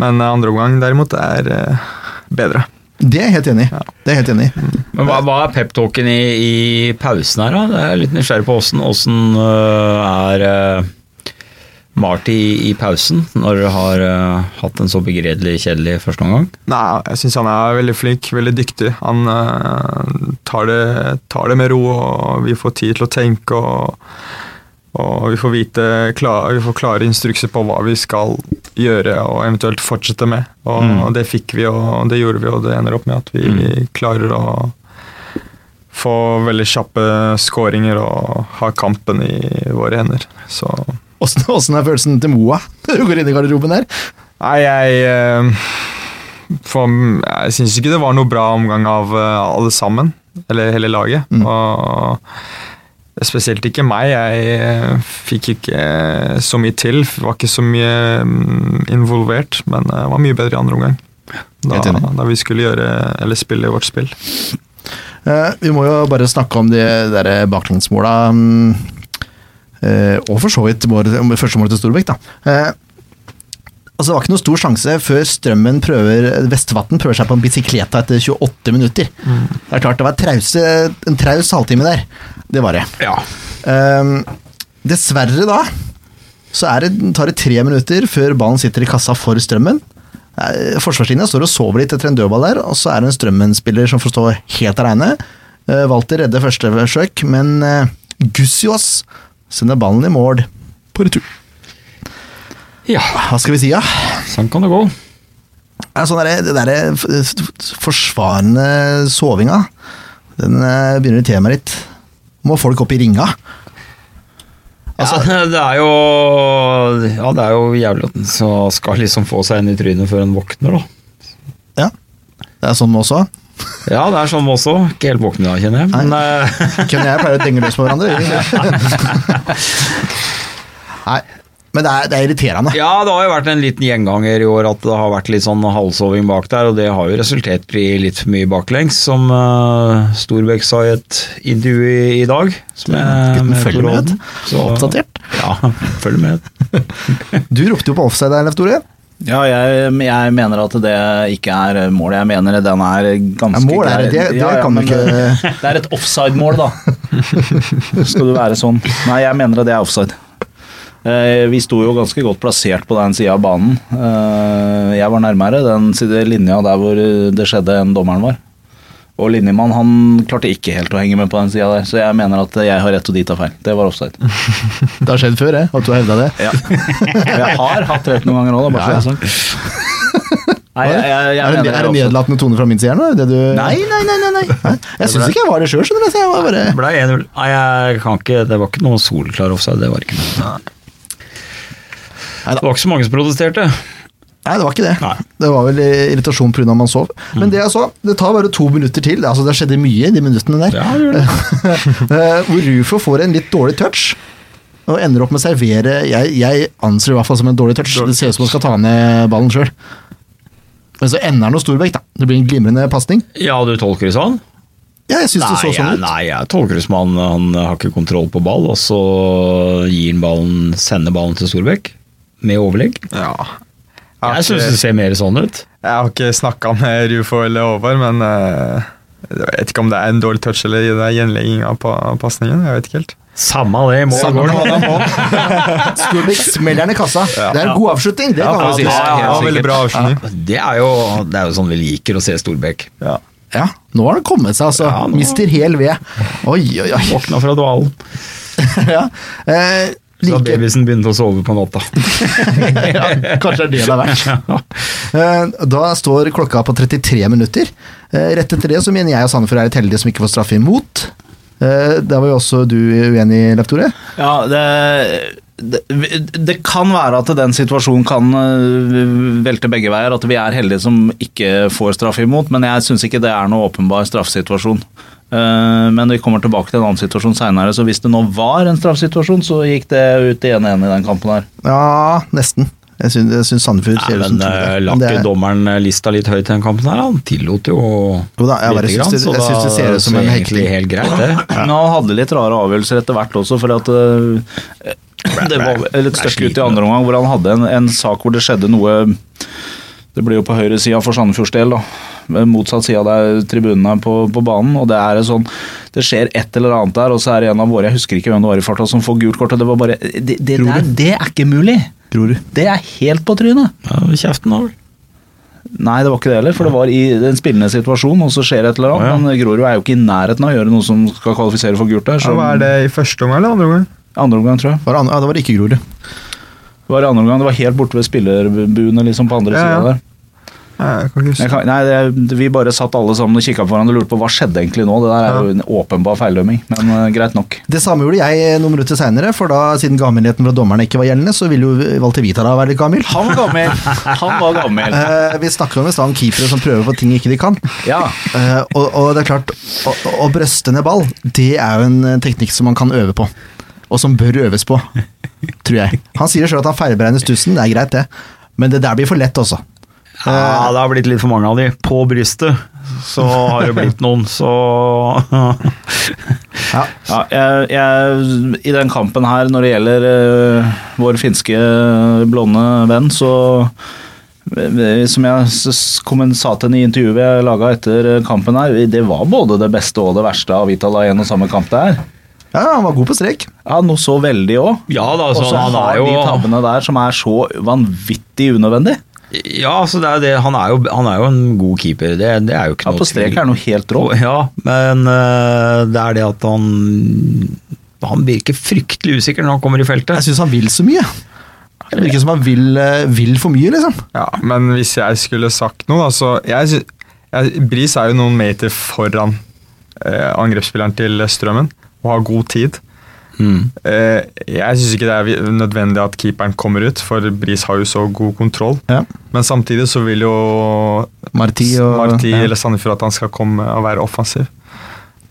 [SPEAKER 3] Men eh, andre omgang derimot er eh, bedre.
[SPEAKER 1] Det er jeg helt enig i. Det er jeg helt enig i.
[SPEAKER 4] Men hva, hva er peptalken i, i pausen her, da? Jeg er litt nysgjerrig på åssen åssen, øh, er øh, Marty i, i pausen, når dere har øh, hatt en så begredelig kjedelig første omgang?
[SPEAKER 3] Nei, jeg syns han er veldig flink, veldig dyktig. Han eh, tar, det, tar det med ro, og vi får tid til å tenke. Og, og vi får vite kla- vi får klare instrukser på hva vi skal gjøre og eventuelt fortsette med. Og det fikk vi, og det gjorde vi, og det ender opp med at vi klarer å få veldig kjappe skåringer og ha kampen i våre hender. Så
[SPEAKER 1] Åssen åssen er følelsen til Moa når du går inn i garderoben der?
[SPEAKER 3] Nei, jeg eh, for, Jeg syns ikke det var noe bra omgang av eh, alle sammen. Eller hele laget. Og spesielt ikke meg. Jeg eh, fikk ikke eh, så mye til. Var ikke så mye mm, involvert, men eh, var mye bedre i andre omgang. Da,
[SPEAKER 1] Helt enig.
[SPEAKER 3] da vi skulle gjøre, eller spille vårt spill.
[SPEAKER 1] Eh, vi må jo bare snakke om de der baklengsmåla. mm, eh, og for så vidt målet- om første målet til Storbekk, da. Eh, altså, det var ikke noe stor sjanse før Strømmen prøver Vestvatn prøver seg på en bisikleta etter 28 minutter. Det er klart det var trause, en traus halvtime der. Det var det.
[SPEAKER 4] Ja.
[SPEAKER 1] Ehm, dessverre, da, så er det, tar det tre minutter før ballen sitter i kassa for Strømmen. Eh, Forsvarslinja står og sover litt etter en dødball der, og så er det en Strømmen-spiller som får stå helt aleine. Uh, Walter redder første forsøk, men uh, Gussiås sender ballen i mål på retur.
[SPEAKER 4] ja.
[SPEAKER 1] Hva skal vi si, da?
[SPEAKER 4] Sånn kan det gå.
[SPEAKER 1] Ja, sånn der, det derre f- f- forsvarende sovinga, den eh, begynner å irritere meg litt. Må folk opp i ringa? Altså,
[SPEAKER 4] ja, det er jo Ja, det er jo jævlig at den så skal liksom få seg en i trynet før den våkner, da.
[SPEAKER 1] ja. Det er sånn også.
[SPEAKER 4] Ja, det er sånn med også. Ikke helt våkne da, kjenner jeg. Men eh,
[SPEAKER 1] Ken og jeg pleier å denge løs på hverandre. gjør vi ikke? Nei, men det er, det er irriterende.
[SPEAKER 4] ja, det har jo vært en liten gjenganger i år at det har vært litt sånn halvsoving bak der, og det har jo resultert i litt for mye baklengs, som eh, Storbekk sa i et intervju i, i dag. Som jeg-
[SPEAKER 1] Gutten følger med,
[SPEAKER 4] Brodden. Så-
[SPEAKER 1] Oppdatert.
[SPEAKER 4] Ja, følger med.
[SPEAKER 1] Du ropte jo på offside der, Leif Tore.
[SPEAKER 2] Ja, jeg, jeg mener at det ikke er mål. Jeg mener den er ganske
[SPEAKER 1] Ja, mål er det.
[SPEAKER 2] grei.
[SPEAKER 1] Det- det kan du
[SPEAKER 2] men
[SPEAKER 1] ikke-
[SPEAKER 2] det- Det er et offside-mål, da. Skal du være sånn. Nei, jeg mener at det er offside. Eh, Vi sto jo ganske godt plassert på den sida av banen. Eh, Jeg var nærmere den side- linja der hvor det skjedde, enn dommeren var. Og linjemann han klarte ikke helt å henge med på den sida der, så jeg mener at jeg har rett og de tar feil. Det var offside.
[SPEAKER 1] Det har skjedd før, jeg, at du har hevda det.
[SPEAKER 2] Ja. Jeg har hatt rett noen ganger òg, bare
[SPEAKER 1] Ja, ja.
[SPEAKER 2] så det er sagt. Nei, jeg, jeg, jeg
[SPEAKER 1] er det, er
[SPEAKER 2] mener
[SPEAKER 1] det
[SPEAKER 2] også-
[SPEAKER 1] nedlatende tone fra min side her nå? er det Det du...
[SPEAKER 2] Nei, nei, nei, nei, nei.
[SPEAKER 1] Nei, Jeg syns ikke jeg var det sjøl, skjønner du. så Jeg var bare...
[SPEAKER 4] Det ble 1-0. Nei, jeg kan ikke Det var ikke noe solklar offside, det var ikke noe.
[SPEAKER 1] Neida.
[SPEAKER 4] Det var ikke så mange som protesterte.
[SPEAKER 1] Nei, det var ikke det.
[SPEAKER 4] Nei. Mm.
[SPEAKER 1] Det var vel eh, irritasjon pga. man sov. Men det jeg så, det tar bare to minutter til. Altså, det skjedde mye i de minuttene der.
[SPEAKER 4] Ja, det gjorde det.
[SPEAKER 1] Eh, Hvor Rufo får en litt dårlig touch og ender opp med å servere Jeg, jeg anser det i hvert fall som en dårlig touch.
[SPEAKER 3] Dårlig
[SPEAKER 1] det ser ut som han skal ta ned ballen sjøl. Men så ender han hos Storbekk, da. Det blir en glimrende pasning.
[SPEAKER 4] Ja, du tolker det sånn?
[SPEAKER 1] Ja, jeg syns det så
[SPEAKER 4] Nei,
[SPEAKER 1] sånn
[SPEAKER 4] jeg,
[SPEAKER 1] ut.
[SPEAKER 4] nei, jeg tolker det som han, han har ikke kontroll på ball, og så gir han ballen, sender ballen til Storbekk med overlegg.
[SPEAKER 3] Ja.
[SPEAKER 4] Jeg syns det ser mer sånn ut.
[SPEAKER 3] Jeg har ikke snakka med Rufo eller Håvard, men eh, jeg vet ikke om det er en dårlig touch eller det er gjenlegging av pa- pasningen. Jeg vet ikke helt.
[SPEAKER 4] Samme det, i mål
[SPEAKER 3] Samme
[SPEAKER 4] går den.
[SPEAKER 1] Storbekk smeller den i kassa. Det er en god avslutning, det kan
[SPEAKER 4] Ja,
[SPEAKER 1] man
[SPEAKER 4] det
[SPEAKER 1] jo
[SPEAKER 4] er
[SPEAKER 1] si.
[SPEAKER 3] det var veldig bra avslutning.
[SPEAKER 4] Det er jo, det er jo sånn vi liker å se Storbekk.
[SPEAKER 3] Ja.
[SPEAKER 1] Ja, nå har han kommet seg, altså.
[SPEAKER 4] Ja, nå-
[SPEAKER 1] Mister hel ved. Oi, oi, oi.
[SPEAKER 4] Våkna fra dvalen.
[SPEAKER 1] ja. eh,
[SPEAKER 4] Så har
[SPEAKER 1] Like-
[SPEAKER 4] babysen begynt å sove på natta.
[SPEAKER 1] ja, kanskje det er det det er verdt. Eh, Da står klokka på 33 minutter. Eh, Rett etter det så mener jeg og Sandefjord er litt heldige som ikke får straffe imot. Eh, Der var jo også du uenig, Leif Tore.
[SPEAKER 2] Ja, det, det, det kan være at den situasjonen kan øh, velte begge veier. At vi er heldige som ikke får straff imot, men jeg syns ikke det er noe åpenbar straffesituasjon. Eh, Men vi kommer tilbake til en annen situasjon seinere, så hvis det nå var en straffesituasjon, så gikk det ut i 1-1 i den kampen her.
[SPEAKER 1] Ja, nesten. Jeg syns, jeg syns Sandefjord
[SPEAKER 4] Nei,
[SPEAKER 1] ser ut som
[SPEAKER 4] men
[SPEAKER 1] tror
[SPEAKER 4] eh,
[SPEAKER 1] det.
[SPEAKER 4] la
[SPEAKER 1] Men det
[SPEAKER 4] ikke
[SPEAKER 1] er-
[SPEAKER 4] dommeren lista litt høyt i den kampen her? Han tillot jo
[SPEAKER 1] Jo da, jeg bare
[SPEAKER 4] lite
[SPEAKER 1] syns det-
[SPEAKER 4] så
[SPEAKER 1] jeg syns det
[SPEAKER 4] da-
[SPEAKER 1] ser ut som en
[SPEAKER 4] så egentlig
[SPEAKER 1] hekling.
[SPEAKER 4] Helt greit, det.
[SPEAKER 2] Men han hadde litt rare avgjørelser etter hvert også, for at øh, det var vel et stykke ut i andre omgang hvor han hadde en, en sak hvor det skjedde noe Det blir jo på høyresida for Sandefjords del, da. Motsatt side der tribunen er på, på banen. Og det er en sånn Det skjer et eller annet der, og så er det en av våre, jeg husker ikke hvem det var i farta, som får gult kort, og det var bare Det, det, der, det er ikke mulig! Det er helt på trynet!
[SPEAKER 4] Ja, kjeften over.
[SPEAKER 2] Nei, det var ikke det heller, for det var i en spillende situasjon, og så skjer et eller annet.
[SPEAKER 4] Ja, ja.
[SPEAKER 2] Men Grorud er jo ikke i nærheten av å gjøre noe som skal kvalifisere for gult der.
[SPEAKER 3] Ja,
[SPEAKER 2] så-
[SPEAKER 3] hva er det i første omgang eller andre omgang?
[SPEAKER 2] Andre omgang, tror jeg.
[SPEAKER 1] Var det andre- ja, det var ikke Grorud.
[SPEAKER 2] Det var i andre omgang, det var helt borte ved spillerbuene liksom på andre
[SPEAKER 3] Ja, ja.
[SPEAKER 2] siden der.
[SPEAKER 3] Nei, Jeg kan ikke huske.
[SPEAKER 2] Jeg kan, nei, det, vi bare satt alle sammen og kikka på hverandre og lurte på hva skjedde egentlig nå. Det der er jo en åpenbar feildømming, men eh, greit nok.
[SPEAKER 1] Det samme gjorde jeg eh, noen minutter seinere, for da siden gammelheten fra dommerne ikke var gjeldende, så ville jo Walter Vitala være litt gammel.
[SPEAKER 2] Han var gammel! Han var gammel.
[SPEAKER 1] Eh, vi snakker om i stad om keepere som prøver på ting ikke de kan.
[SPEAKER 2] Ja.
[SPEAKER 1] Eh, og, og det er klart, å, å brøste ned ball, det er jo en eh, teknikk som man kan øve på. Og som bør øves på, tror jeg. Han sier sjøl at han feilberegner stussen, det er greit det. Men det der blir for lett altså. også.
[SPEAKER 4] Ja, det har blitt litt for mange av de. På brystet så har det blitt noen, så
[SPEAKER 1] Ja.
[SPEAKER 2] ja jeg, jeg, I den kampen her, når det gjelder eh, vår finske eh, blonde venn, så eh, som jeg s- s- kom en- sa til henne i intervjuet jeg laga etter eh, kampen her, det var både det beste og det verste av Vitala i en og samme kamp det er.
[SPEAKER 1] ja, han var god på strek.
[SPEAKER 2] Ja, noe så veldig òg.
[SPEAKER 4] Ja da,
[SPEAKER 2] Og
[SPEAKER 4] så
[SPEAKER 2] så
[SPEAKER 4] han
[SPEAKER 2] har
[SPEAKER 4] er jo
[SPEAKER 2] de tabbene der som er så vanvittig unødvendig.
[SPEAKER 4] Ja, så det er det. Han er jo, han er jo en god keeper, det, det er jo ikke
[SPEAKER 2] Ja, på strek er noe helt rå.
[SPEAKER 4] Og- Ja, men eh, det er det at han Han virker fryktelig usikker når han kommer i
[SPEAKER 1] Jeg
[SPEAKER 4] feltet.
[SPEAKER 1] syns han vil så mye. Det virker som han vil, eh, vil for mye, liksom.
[SPEAKER 3] Ja, men hvis jeg skulle sagt noe, da, så jeg, sy- jeg, Bris er jo noen meter foran eh, angrepsspilleren til Strømmen og har god tid.
[SPEAKER 1] Mm.
[SPEAKER 3] Eh, jeg syns ikke det er vi- nødvendig at keeperen kommer ut, for Bris har jo så god kontroll.
[SPEAKER 1] Ja.
[SPEAKER 3] Men samtidig så vil jo
[SPEAKER 1] Marti og
[SPEAKER 3] Marti
[SPEAKER 1] ja.
[SPEAKER 3] eller Sandefjord at han skal komme og være offensiv.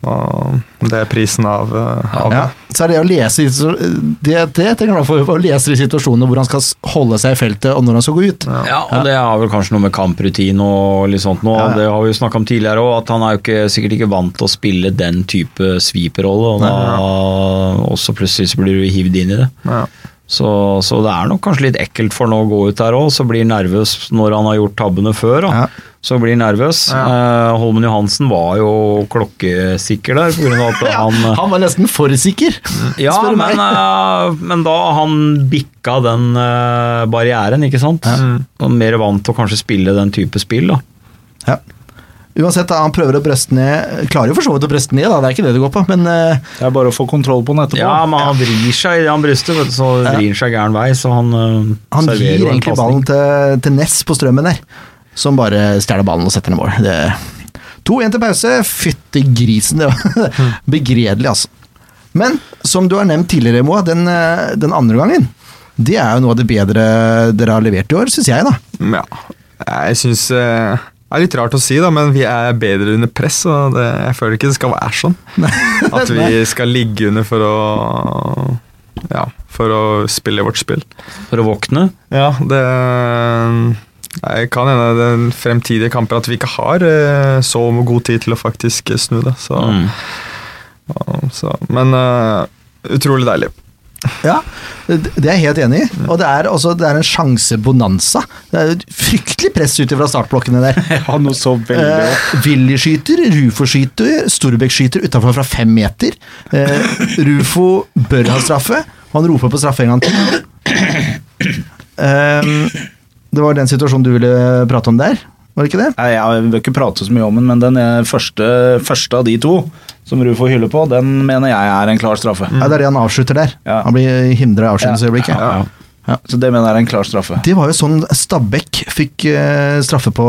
[SPEAKER 3] Og det er prisen av, eh, av
[SPEAKER 1] Ja,
[SPEAKER 3] det.
[SPEAKER 1] så er det å lese i- så, eh, Det, det tenker jeg for, å lese de situasjonene hvor han skal s- holde seg i feltet, og når han skal gå ut.
[SPEAKER 4] Ja, og det har vel kanskje noe med kamprutine og litt sånt nå.
[SPEAKER 1] Ja, ja.
[SPEAKER 4] Det har vi jo snakka om tidligere òg, at han er jo ikke, sikkert ikke vant til å spille den type sviperrolle. Og da også plutselig så blir du hivd inn i det.
[SPEAKER 3] Ja.
[SPEAKER 4] Så, så det er nok kanskje litt ekkelt for han å gå ut der òg, så blir han nervøs når han har gjort tabbene før. Da.
[SPEAKER 1] Ja.
[SPEAKER 4] Så blir han nervøs. Eh, Holmen Johansen var jo klokkesikker der, på grunn av at han
[SPEAKER 1] Han var nesten for sikker,
[SPEAKER 4] Ja,
[SPEAKER 1] spør du meg.
[SPEAKER 4] men, eh, men da han bikka den eh, barrieren, ikke sant. Og mer vant til å kanskje spille den type spill, da.
[SPEAKER 1] Ja. Uansett, da, han prøver å brøste ned Klarer jo for så vidt å brøste ned, da, det er ikke det det går på, men eh,
[SPEAKER 2] Det er bare å få kontroll på den etterpå.
[SPEAKER 4] Ja, men han vrir seg i det han brystet, vet du, så vrir han seg gæren vei, så han, eh,
[SPEAKER 1] han
[SPEAKER 4] serverer
[SPEAKER 1] gir
[SPEAKER 4] jo en
[SPEAKER 1] egentlig
[SPEAKER 4] pasning.
[SPEAKER 1] ballen til, til Ness på strømmen der, som bare stjeler ballen og setter den i mål. Det- 2-1 til pause. Fytti grisen, det var begredelig, altså. Men som du har nevnt tidligere, Moa, den, eh, den andre gangen, det er jo noe av det bedre dere har levert i år, syns jeg, da.
[SPEAKER 3] Ja, jeg syns Det er litt rart å si, da, men vi er bedre under press. Og det, jeg føler ikke det skal være sånn. At vi skal ligge under for å Ja, for å spille vårt spill.
[SPEAKER 4] For å våkne.
[SPEAKER 3] Ja, det Nei, kan hende det er fremtidige kamper at vi ikke har eh, så god tid til å faktisk snu det. Så,
[SPEAKER 4] Mm.
[SPEAKER 3] så, men eh, utrolig deilig.
[SPEAKER 1] Ja, det det er jeg helt enig i. Og det er, også, det er en sjansebonanza. Det er jo et fryktelig press ut fra startblokkene der.
[SPEAKER 2] Ja, noe så veldig
[SPEAKER 1] Eh, Willy skyter, Rufo skyter, Storbekk skyter utenfor fra fem meter. Eh, Rufo bør ha straffe. Han roper på straffe en gang til. Eh, det var den situasjonen du ville prate om der. var det ikke det?
[SPEAKER 4] Mm.
[SPEAKER 2] Nei, Jeg vil ikke prate så mye om den, men den er første, første av de to som Ruud får hylle på, den mener jeg er en klar straffe.
[SPEAKER 4] Mm.
[SPEAKER 1] Ja, det er det han avslutter der.
[SPEAKER 2] Ja.
[SPEAKER 1] Han blir hindra i avslutningsøyeblikket.
[SPEAKER 2] Ja, ja, ja. Så det mener jeg er en klar straffe.
[SPEAKER 1] Det var jo sånn Stabæk fikk eh, straffe på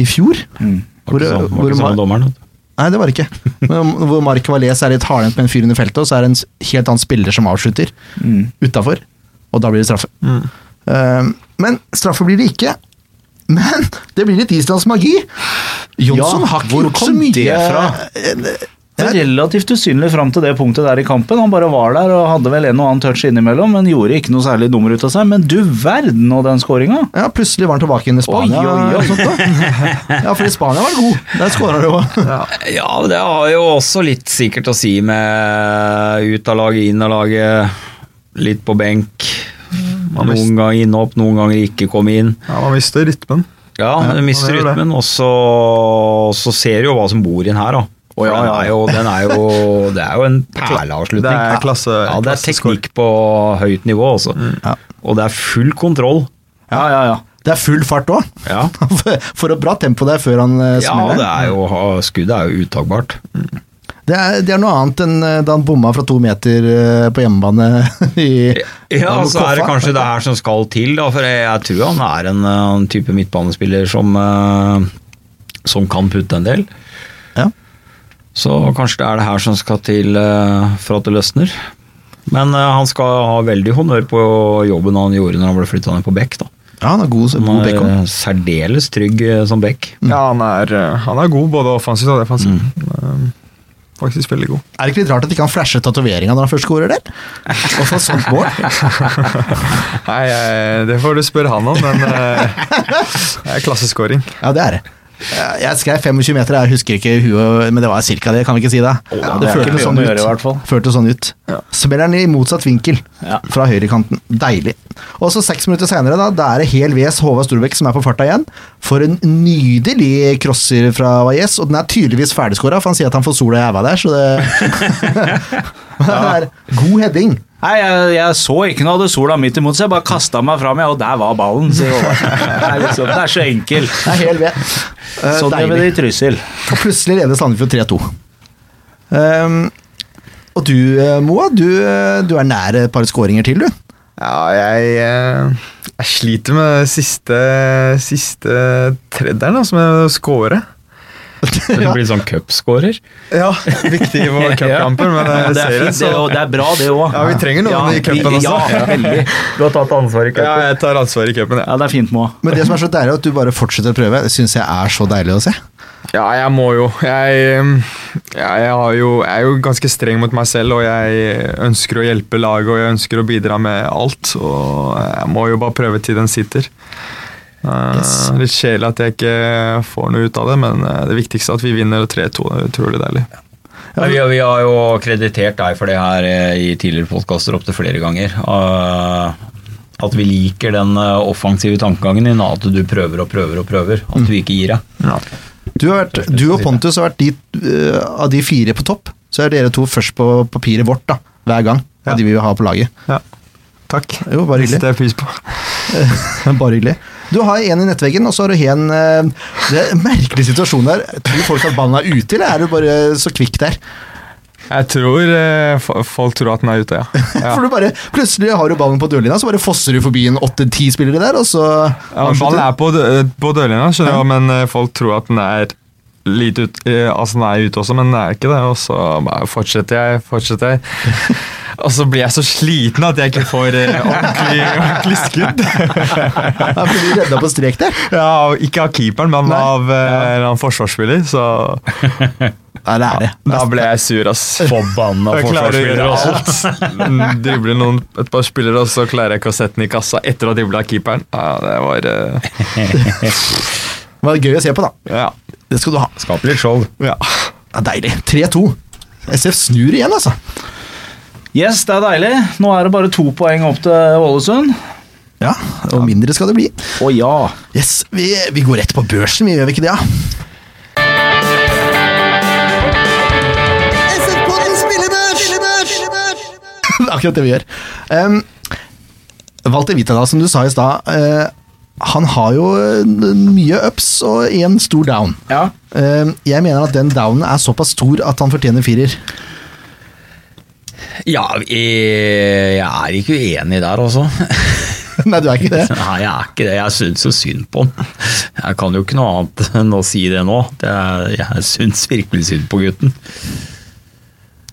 [SPEAKER 1] i fjor.
[SPEAKER 2] Mm.
[SPEAKER 4] Var ikke
[SPEAKER 1] Hvor-
[SPEAKER 4] sånn,
[SPEAKER 1] hvor
[SPEAKER 4] var ikke
[SPEAKER 1] ma-
[SPEAKER 4] sånn dommeren.
[SPEAKER 1] Nei, det var det ikke. Men hvor Mark Valais er litt hardhendt med en fyr under feltet, og så er det en s- helt annen spiller som avslutter
[SPEAKER 2] Mm.
[SPEAKER 1] utafor, og da blir det straffe.
[SPEAKER 3] Mm.
[SPEAKER 1] Eh, men straffe blir det ikke. Men det blir litt Islands magi! Jonsson
[SPEAKER 2] Ja,
[SPEAKER 1] har ikke
[SPEAKER 2] hvor
[SPEAKER 1] gjort så
[SPEAKER 2] kom
[SPEAKER 1] mye
[SPEAKER 2] det fra? Det er relativt usynlig fram til det punktet der i kampen. Han bare var der og hadde vel en og annen touch innimellom, men gjorde ikke noe særlig dummer ut av seg. Men du verden og den skåringa!
[SPEAKER 1] Ja, plutselig var han tilbake igjen i Spania.
[SPEAKER 2] Oi, oi, oi.
[SPEAKER 1] og sånt da. Ja, fordi Spania var god. Der skåra du òg.
[SPEAKER 4] Ja, men det har jo også litt sikkert å si med ut av laget, inn av laget, litt på benk.
[SPEAKER 3] Man
[SPEAKER 4] Noen ganger innhopp, noen ganger ikke komme inn.
[SPEAKER 3] Ja, man mister rytmen.
[SPEAKER 4] Ja, du mister
[SPEAKER 3] det gjør det.
[SPEAKER 4] rytmen, og så, så ser du jo hva som bor inn her, da.
[SPEAKER 2] Å, ja, ja.
[SPEAKER 4] For Den er jo, den er jo, det er jo en perleavslutning.
[SPEAKER 3] Det er klasse-
[SPEAKER 4] Ja, det er
[SPEAKER 3] klasseskår.
[SPEAKER 4] teknikk på høyt nivå, altså.
[SPEAKER 1] Ja.
[SPEAKER 4] Og det er full kontroll.
[SPEAKER 2] Ja, ja, ja.
[SPEAKER 1] Det er full fart òg.
[SPEAKER 4] Ja,
[SPEAKER 1] For et bra tempo der før han eh,
[SPEAKER 4] ja
[SPEAKER 1] smeller.
[SPEAKER 4] det er jo, skuddet er jo uttagbart.
[SPEAKER 1] Det er, det er noe annet enn eh, da han bomma fra to meter eh, på hjemmebane i
[SPEAKER 4] Ja,
[SPEAKER 1] mot
[SPEAKER 4] så er det
[SPEAKER 1] Koffa.
[SPEAKER 4] kanskje det her som skal til, da, for jeg, jeg tror han er en, eh, en type midtbanespiller som, eh, som kan putte en del.
[SPEAKER 1] Ja.
[SPEAKER 4] Så kanskje det er det her som skal til eh, for at det løsner. Men eh, han skal ha veldig honnør på jobben han gjorde når han ble flytta ned på Beck. da.
[SPEAKER 1] ja, han er god,
[SPEAKER 4] Han
[SPEAKER 1] god
[SPEAKER 4] er
[SPEAKER 1] backhand.
[SPEAKER 4] eh, særdeles trygg eh, som Beck.
[SPEAKER 3] Ja, han er, eh, han er god både offensivt og defensivt. Eh, Faktisk veldig god.
[SPEAKER 1] Er det ikke litt rart at ikke han flasher tatoveringa når han først scorer der? Og får sånt mål?
[SPEAKER 3] Nei, eh, det får du spørre han om, men eh, det er klasseskåring.
[SPEAKER 1] Ja, det er det. Eh, Jeg skrev 25 meter, jeg husker ikke i huet, men det var cirka det, kan vi ikke si det?
[SPEAKER 2] det har ikke mye med å gjøre, i hvert fall.
[SPEAKER 1] føltes sånn ut. Smeller den i motsatt vinkel
[SPEAKER 2] Ja.
[SPEAKER 1] fra høyrekanten. Deilig. Og så seks minutter senere, da, da er det hel VS Håvard Storbekk som er på farta igjen. For en nydelig crosser fra Valles, og den er tydeligvis ferdigskåra, for han sier at han får sola i æva der, så det Det er god heading.
[SPEAKER 2] Nei, jeg, jeg så ikke noe, hadde sola midt imot, så jeg bare kasta meg fram, jeg, og der var ballen, sier Håvard. Det er liksom, det er så enkelt.
[SPEAKER 1] Det er hel ved. Eh,
[SPEAKER 2] Sånn gjør vi
[SPEAKER 1] deilig.
[SPEAKER 2] det i Trysil.
[SPEAKER 1] Og plutselig leder Sandefjord 3-2. Ehm, og du, eh, Moa, du, eh, du er nær et par skåringer til, du.
[SPEAKER 3] Ja, jeg, eh, jeg sliter med det siste, siste tredderen, da, som jeg scorer.
[SPEAKER 4] Så det blir sånn cupscorer.
[SPEAKER 3] Ja, viktig i vår cupkamper, men
[SPEAKER 2] Ja, det,
[SPEAKER 3] jeg ser
[SPEAKER 2] er
[SPEAKER 3] det,
[SPEAKER 2] fint, det,
[SPEAKER 3] så
[SPEAKER 2] og det er bra, det òg.
[SPEAKER 3] Ja, vi trenger noen i cupen også.
[SPEAKER 2] Ja, veldig.
[SPEAKER 4] Du har tatt ansvar i
[SPEAKER 3] ja, jeg tar ansvar i cupen. jeg.
[SPEAKER 2] ja, det er fint, Moa.
[SPEAKER 1] Men det som er så deilig, er at du bare fortsetter å prøve. Det syns jeg er så deilig å se.
[SPEAKER 3] Ja, jeg må jo. Jeg, um, ja, jeg, har jo, jeg er jo ganske streng mot meg selv, og jeg ønsker å hjelpe laget og jeg ønsker å bidra med alt. Og jeg må jo bare prøve til den sitter. Eh,
[SPEAKER 1] Yes.
[SPEAKER 3] Litt kjedelig at jeg ikke får noe ut av det, men eh, det viktigste er at vi vinner 3-2. Det er utrolig deilig.
[SPEAKER 4] Ja, vi, vi har jo kreditert deg for det her eh, i tidligere podkaster opptil flere ganger. Eh, At vi liker den eh, offensive tankegangen din, at du prøver og prøver og prøver. At du ikke gir deg.
[SPEAKER 1] Du, har vært, du og Pontus har vært de, eh, av de fire på topp. Så er dere to først på papiret vårt da, hver gang. Av
[SPEAKER 3] Ja.
[SPEAKER 1] de vi vil ha på laget.
[SPEAKER 3] Ja. Takk.
[SPEAKER 1] Jo, bare
[SPEAKER 3] Det
[SPEAKER 1] hyggelig.
[SPEAKER 3] setter jeg pris på.
[SPEAKER 1] Men Bare hyggelig. Du har en i nettveggen, og så har du en eh, Det er en merkelig situasjon der. Tror folk at ballen er ute, eller er du bare så kvikk der?
[SPEAKER 3] Jeg tror eh, fo- folk tror at den er ute, ja. ja.
[SPEAKER 1] For du bare, plutselig har du ballen på dørlinja, så bare fosser du forbi en åtte-ti spillere der, og så
[SPEAKER 3] Ja, men ballen er på, dø- eh, på dørlinja, skjønner du, men eh, folk tror at den er litt ut, eh, altså den er ute også, men den er ikke det. Og så bare fortsetter jeg, fortsetter jeg. Og så blir jeg så sliten at jeg ikke får eh, ordentlig, ordentlig skudd.
[SPEAKER 1] Ja, for du redda på strek der.
[SPEAKER 3] Ja, og ikke av keeperen, men
[SPEAKER 1] Nei.
[SPEAKER 3] av eh, en eller annen forsvarsspiller, så
[SPEAKER 1] Ja, det er det.
[SPEAKER 3] da ble jeg sur, ass.
[SPEAKER 4] Forbanna altså.
[SPEAKER 3] Jeg klarer å gjøre alt. Mm, Dribler noen, et par spillere, og så klarer jeg ikke å sette den i kassa etter å ha dribla keeperen. Ja, det var eh,
[SPEAKER 1] Det var gøy å se på, da.
[SPEAKER 3] Ja.
[SPEAKER 1] Det skal du ha.
[SPEAKER 4] Skap litt show.
[SPEAKER 3] ja.
[SPEAKER 1] Ja, deilig. 3-2. SF snur igjen, altså.
[SPEAKER 2] Yes, det er deilig. Nå er det bare to poeng opp til Ålesund.
[SPEAKER 1] Ja, og mindre skal det bli.
[SPEAKER 2] Å ja.
[SPEAKER 1] Yes, vi, vi går rett på børsen, vi gjør vi ikke det, ja?
[SPEAKER 5] SF-podden spillebørs! Spillebørs!
[SPEAKER 1] Det er akkurat det vi gjør. Um, Walter Vita, da, som du sa i stad, eh, han har jo eh, mye ups og én stor down.
[SPEAKER 2] Ja.
[SPEAKER 1] Eh, Jeg mener at den downen er såpass stor at han fortjener firer.
[SPEAKER 4] Ja, jeg er ikke uenig der, altså.
[SPEAKER 1] Nei, du er ikke det?
[SPEAKER 4] Nei, jeg er ikke det. Jeg syns jo synd på han. Jeg kan jo ikke noe annet enn å si det nå. Det er, jeg syns virkelig synd på gutten.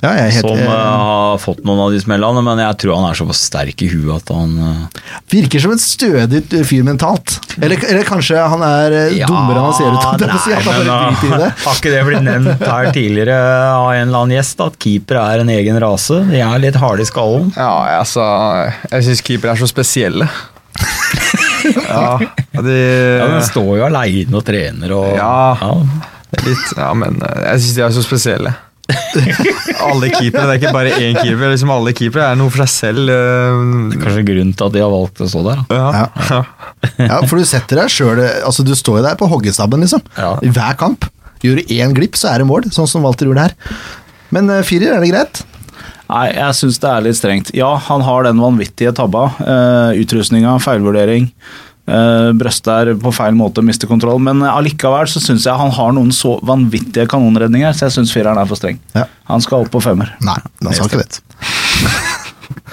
[SPEAKER 1] Ja, jeg er helt,
[SPEAKER 4] som
[SPEAKER 1] eh,
[SPEAKER 4] eh, har fått noen av de smellene, men jeg tror han er såpass sterk i huet at han eh,
[SPEAKER 1] Virker som en stødig fyr mentalt. Eller, eller kanskje han er eh, dummere enn han ser ut til.
[SPEAKER 4] nei,
[SPEAKER 1] å si, at han
[SPEAKER 4] men,
[SPEAKER 1] bare
[SPEAKER 4] ah,
[SPEAKER 1] driter i det.
[SPEAKER 4] Har ikke det blitt nevnt her tidligere av en eller annen gjest, at keepere er en egen rase? De er litt harde i skallen.
[SPEAKER 3] Ja, altså, jeg syns keepere er så spesielle. ja, de
[SPEAKER 4] Ja, Den står jo aleine og trener og
[SPEAKER 3] Ja. Litt, ja, men eh, jeg syns de er så spesielle. alle keepere, det er ikke bare én keeper. Liksom alle keepere er noe for seg selv. eh,
[SPEAKER 4] Kanskje grunnen til at de har valgt å stå der. da.
[SPEAKER 3] Ja.
[SPEAKER 1] Ja. Ja, for du setter deg sjøl altså, Du står jo der på hoggestabben, liksom.
[SPEAKER 4] Ja.
[SPEAKER 1] I hver kamp. Gjør du én glipp, så er det mål, sånn som Walter gjorde her. Men eh, firer, er det greit?
[SPEAKER 2] Nei, jeg syns det er litt strengt. Ja, han har den vanvittige tabba. Uh, Utrustninga, feilvurdering. Uh, Brøstær på feil måte, mister kontroll. Men eh, allikevel så syns jeg han har noen så vanvittige kanonredninger, så jeg syns fireren er for streng.
[SPEAKER 1] Ja.
[SPEAKER 2] Han skal opp på femmer.
[SPEAKER 1] Nei, han sa ikke det.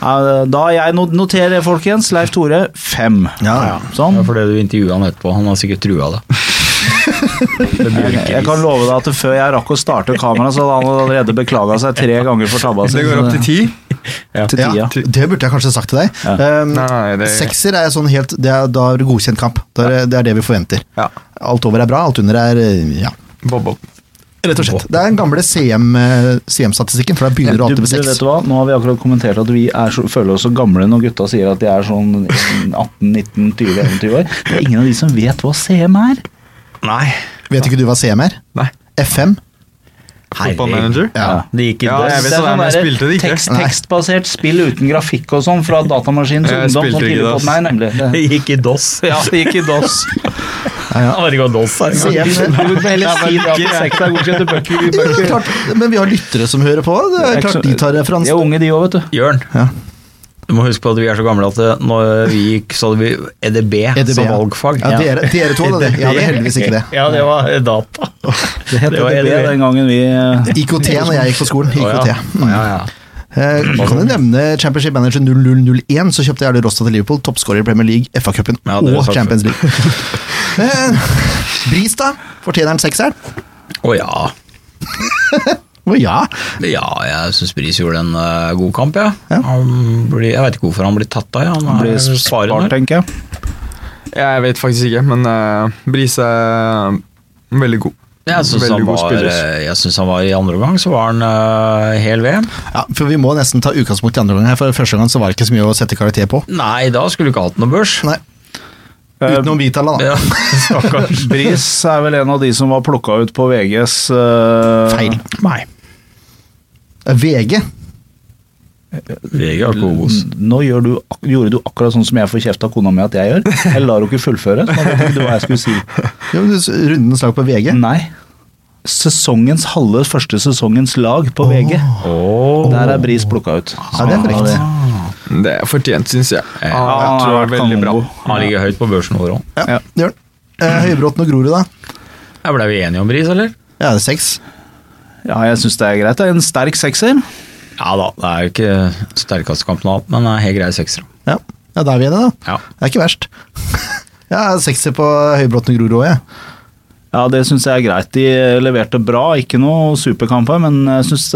[SPEAKER 2] Eh, da jeg no- noterer, folkens, Leif Tore fem.
[SPEAKER 1] Ja, ja.
[SPEAKER 2] Sånn.
[SPEAKER 4] Ja, for det du intervjua han etterpå, han har sikkert trua det. det blir jo ikke
[SPEAKER 2] Jeg kan love deg at før jeg rakk å starte kameraet, så hadde han allerede beklaga seg tre ganger for tabba si.
[SPEAKER 3] Det går opp til ti.
[SPEAKER 2] til ti,
[SPEAKER 1] Ja,
[SPEAKER 2] ja.
[SPEAKER 1] det burde jeg kanskje sagt til deg. Um,
[SPEAKER 3] Nei, det-
[SPEAKER 1] Sekser er sånn helt det er, Da har du godkjent kamp. Da er, det- det er det vi forventer.
[SPEAKER 3] Ja.
[SPEAKER 1] Alt over er bra, alt under er eh, ja.
[SPEAKER 3] Bob-bob.
[SPEAKER 1] Rett og slett. Det er den gamle CM, eh, CM-statistikken, for da begynner du
[SPEAKER 2] Du,
[SPEAKER 1] alltid
[SPEAKER 2] du
[SPEAKER 1] med seks.
[SPEAKER 2] vet du hva? Nå har vi akkurat kommentert at vi er så, føler oss så gamle når gutta sier at de er sånn 18-19-20-21 år. Det er ingen av de som vet hva CM er.
[SPEAKER 4] Nei.
[SPEAKER 1] Vet ikke du hva CM er?
[SPEAKER 3] Nei.
[SPEAKER 1] FM?
[SPEAKER 3] Football manager?
[SPEAKER 1] Ja.
[SPEAKER 4] Det gikk i
[SPEAKER 3] Ja, jeg
[SPEAKER 4] dass.
[SPEAKER 3] vet
[SPEAKER 2] Det er
[SPEAKER 3] hva det er, men jeg
[SPEAKER 2] sånn
[SPEAKER 3] spilte det
[SPEAKER 2] der
[SPEAKER 3] ikke.
[SPEAKER 2] tekst,
[SPEAKER 1] Nei.
[SPEAKER 2] tekstbasert spill uten grafikk og sånn fra datamaskin til
[SPEAKER 3] Jeg
[SPEAKER 2] ungdom.
[SPEAKER 3] spilte
[SPEAKER 2] Som
[SPEAKER 3] ikke
[SPEAKER 2] tidligere
[SPEAKER 3] det,
[SPEAKER 2] på meg, nemlig.
[SPEAKER 4] Det gikk i dass.
[SPEAKER 2] Ja, det gikk i dass.
[SPEAKER 4] Arga dass her.
[SPEAKER 1] Se.
[SPEAKER 2] Du burde heller si det at sekta er godkjent til bøker.
[SPEAKER 1] Jo, det er klart, men vi har lyttere som hører på. Det er klart de tar
[SPEAKER 2] De er
[SPEAKER 1] referansen.
[SPEAKER 2] unge, de òg, vet du.
[SPEAKER 4] Jørn,
[SPEAKER 1] Ja.
[SPEAKER 4] du må huske på at vi er så gamle at eh, når vi gikk, så hadde vi EDB,
[SPEAKER 1] EDB,
[SPEAKER 4] som
[SPEAKER 1] E ja.
[SPEAKER 4] valgfag.
[SPEAKER 1] Ja, dere, dere to hadde det. Jeg hadde heldigvis ikke det.
[SPEAKER 4] Ja, det var data.
[SPEAKER 2] Det het
[SPEAKER 4] Det var
[SPEAKER 2] EDB
[SPEAKER 4] EDB.
[SPEAKER 2] den gangen vi eh,
[SPEAKER 1] IKT når jeg gikk på skolen.
[SPEAKER 4] Å,
[SPEAKER 1] IKT.
[SPEAKER 4] ja.
[SPEAKER 1] Mm.
[SPEAKER 4] Ja, ja.
[SPEAKER 1] Eh, kan jeg nevne Championship Manager 0001, så kjøpte jeg Arne Rosta til Liverpool. Toppskårer i Premier League, FA-cupen
[SPEAKER 4] Ja,
[SPEAKER 1] og
[SPEAKER 4] det har jeg sagt
[SPEAKER 1] Champions League. eh, Bris, da? Fortjener han sekseren?
[SPEAKER 4] Å ja.
[SPEAKER 1] Å ja.
[SPEAKER 4] Ja, jeg syns Bris gjorde en eh, god kamp, jeg.
[SPEAKER 1] Ja.
[SPEAKER 4] Han blir, jeg vet ikke hvorfor han blir tatt av. jeg. Han
[SPEAKER 2] ble
[SPEAKER 4] er
[SPEAKER 2] spart,
[SPEAKER 4] svarende.
[SPEAKER 2] tenker jeg.
[SPEAKER 3] Jeg vet faktisk ikke, men uh, Brise er eh, veldig god.
[SPEAKER 4] Jeg syns
[SPEAKER 3] Veldig
[SPEAKER 4] han,
[SPEAKER 3] god
[SPEAKER 4] altså var,
[SPEAKER 3] spiller.
[SPEAKER 4] eh, jeg synes han var i andre omgang, så var han eh, hel ved.
[SPEAKER 1] ja. For vi må nesten ta utgangspunkt i andre gangen her, for første gang så var det ikke så mye å sette karakter på.
[SPEAKER 4] Nei, da skulle du ikke hatt noe børs.
[SPEAKER 1] Nei, Utenom Vitala, da.
[SPEAKER 4] Eh, Ja, stakkars.
[SPEAKER 2] Bris er vel en av de som var plukka ut på VGs eh,
[SPEAKER 1] Feil. Eh,
[SPEAKER 4] Nei.
[SPEAKER 1] VG.
[SPEAKER 4] VG har ikke Obos.
[SPEAKER 2] N- Nå gjør du, ak- gjorde du akkurat sånn som jeg får kjeft av kona mi at jeg gjør. Jeg lar henne ikke fullføre. Så da vet ikke du hva jeg skulle si.
[SPEAKER 1] Jo, men du- Rundens lag på VG.
[SPEAKER 4] Mm.
[SPEAKER 2] Nei. Sesongens halve første sesongens lag på VG. Der er Bris plukka ut.
[SPEAKER 1] Ja, det er korrekt.
[SPEAKER 3] Det er fortjent, syns jeg.
[SPEAKER 4] Ja,
[SPEAKER 3] Han,
[SPEAKER 2] han
[SPEAKER 3] jeg
[SPEAKER 2] har
[SPEAKER 3] tror
[SPEAKER 2] vært
[SPEAKER 3] han er veldig bra.
[SPEAKER 2] kanongod.
[SPEAKER 4] Han ligger høyt på børsen vår òg.
[SPEAKER 1] Ja,
[SPEAKER 2] Ja.
[SPEAKER 1] det gjør den. Eh, Høybråten og Grorud, da?
[SPEAKER 4] Ja, Blei vi enige om Bris, eller?
[SPEAKER 1] Ja, det er seks.
[SPEAKER 2] Ja, jeg syns det er greit. Det er en sterk sekser.
[SPEAKER 4] Ja da, det er jo ikke sterkeste kampen av alt, men det er helt grei sekser.
[SPEAKER 1] Ja. ja, da er vi enige, da.
[SPEAKER 4] Ja.
[SPEAKER 1] Det er ikke verst. Ja, sekser på Høybråten og Grorud òg, jeg.
[SPEAKER 2] Ja, det syns jeg er greit. De eh, leverte bra, ikke noe superkamper, men jeg syns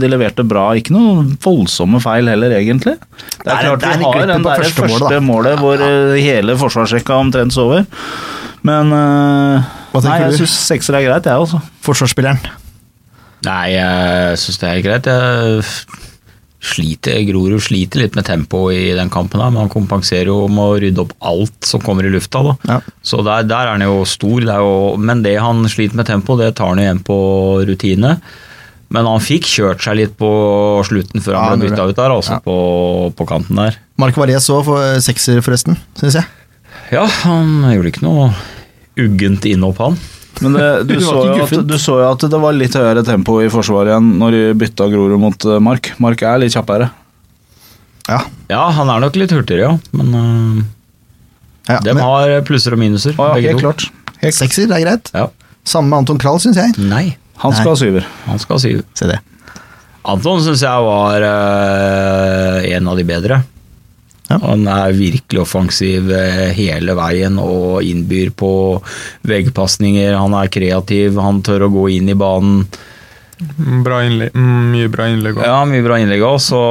[SPEAKER 2] de leverte bra. Ikke noe voldsomme feil heller, egentlig. Det
[SPEAKER 1] Nei,
[SPEAKER 2] er klart
[SPEAKER 1] det er
[SPEAKER 2] vi
[SPEAKER 1] litt
[SPEAKER 2] har
[SPEAKER 1] glippen
[SPEAKER 2] den
[SPEAKER 1] på
[SPEAKER 2] der
[SPEAKER 1] første
[SPEAKER 2] første,
[SPEAKER 1] målet, da.
[SPEAKER 2] målet hvor eh, hele forsvarsrekka omtrent sover. Men eh,
[SPEAKER 1] Hva tenker
[SPEAKER 2] Nei, jeg
[SPEAKER 1] du?
[SPEAKER 2] syns sekser er greit, jeg altså. også.
[SPEAKER 1] Forsvarsspilleren.
[SPEAKER 4] Nei, jeg syns det er greit. Jeg sliter, Grorud sliter litt med tempoet i den kampen, her, men han kompenserer jo med å rydde opp alt som kommer i lufta. Da.
[SPEAKER 1] Ja.
[SPEAKER 4] Så der, der er han jo stor, det er jo, men det han sliter med tempo, det tar han igjen på rutine. Men han fikk kjørt seg litt på slutten før
[SPEAKER 1] Ja,
[SPEAKER 4] han
[SPEAKER 1] han
[SPEAKER 4] ble
[SPEAKER 1] gjorde
[SPEAKER 4] bytta
[SPEAKER 1] det.
[SPEAKER 4] ut der, altså
[SPEAKER 1] Ja.
[SPEAKER 4] på, på kanten der.
[SPEAKER 1] Mark Varese òg får eh, sekser, forresten, syns jeg.
[SPEAKER 4] Ja, han gjorde ikke noe uggent innhopp, han.
[SPEAKER 2] Men det, du,
[SPEAKER 1] Det var
[SPEAKER 2] så
[SPEAKER 1] ikke
[SPEAKER 2] jo at,
[SPEAKER 1] guffent.
[SPEAKER 2] du så jo at det var litt høyere tempo i forsvaret igjen når de bytta Grorud mot eh, Mark. Mark er litt kjappere.
[SPEAKER 1] Ja.
[SPEAKER 4] Ja, han er nok litt hurtigere, ja, men øh,
[SPEAKER 1] Ja,
[SPEAKER 4] De
[SPEAKER 1] men-
[SPEAKER 4] har plusser og minuser,
[SPEAKER 2] Å, ja,
[SPEAKER 4] begge
[SPEAKER 2] helt
[SPEAKER 4] to.
[SPEAKER 2] klart. Helt.
[SPEAKER 1] Sekser er greit.
[SPEAKER 4] Ja.
[SPEAKER 1] Samme med Anton Krall, syns jeg.
[SPEAKER 4] Nei,
[SPEAKER 2] Han skal ha syver.
[SPEAKER 4] han skal ha syv.
[SPEAKER 1] Se det.
[SPEAKER 4] Anton syns jeg var eh, en av de bedre.
[SPEAKER 1] Ja.
[SPEAKER 4] Han er virkelig offensiv eh, hele veien og innbyr på veggpasninger. Han er kreativ, han tør å gå inn i banen.
[SPEAKER 3] Bra innlegg. Mm, Mye bra innlegg. også.
[SPEAKER 4] Ja, mye bra innlegg òg, så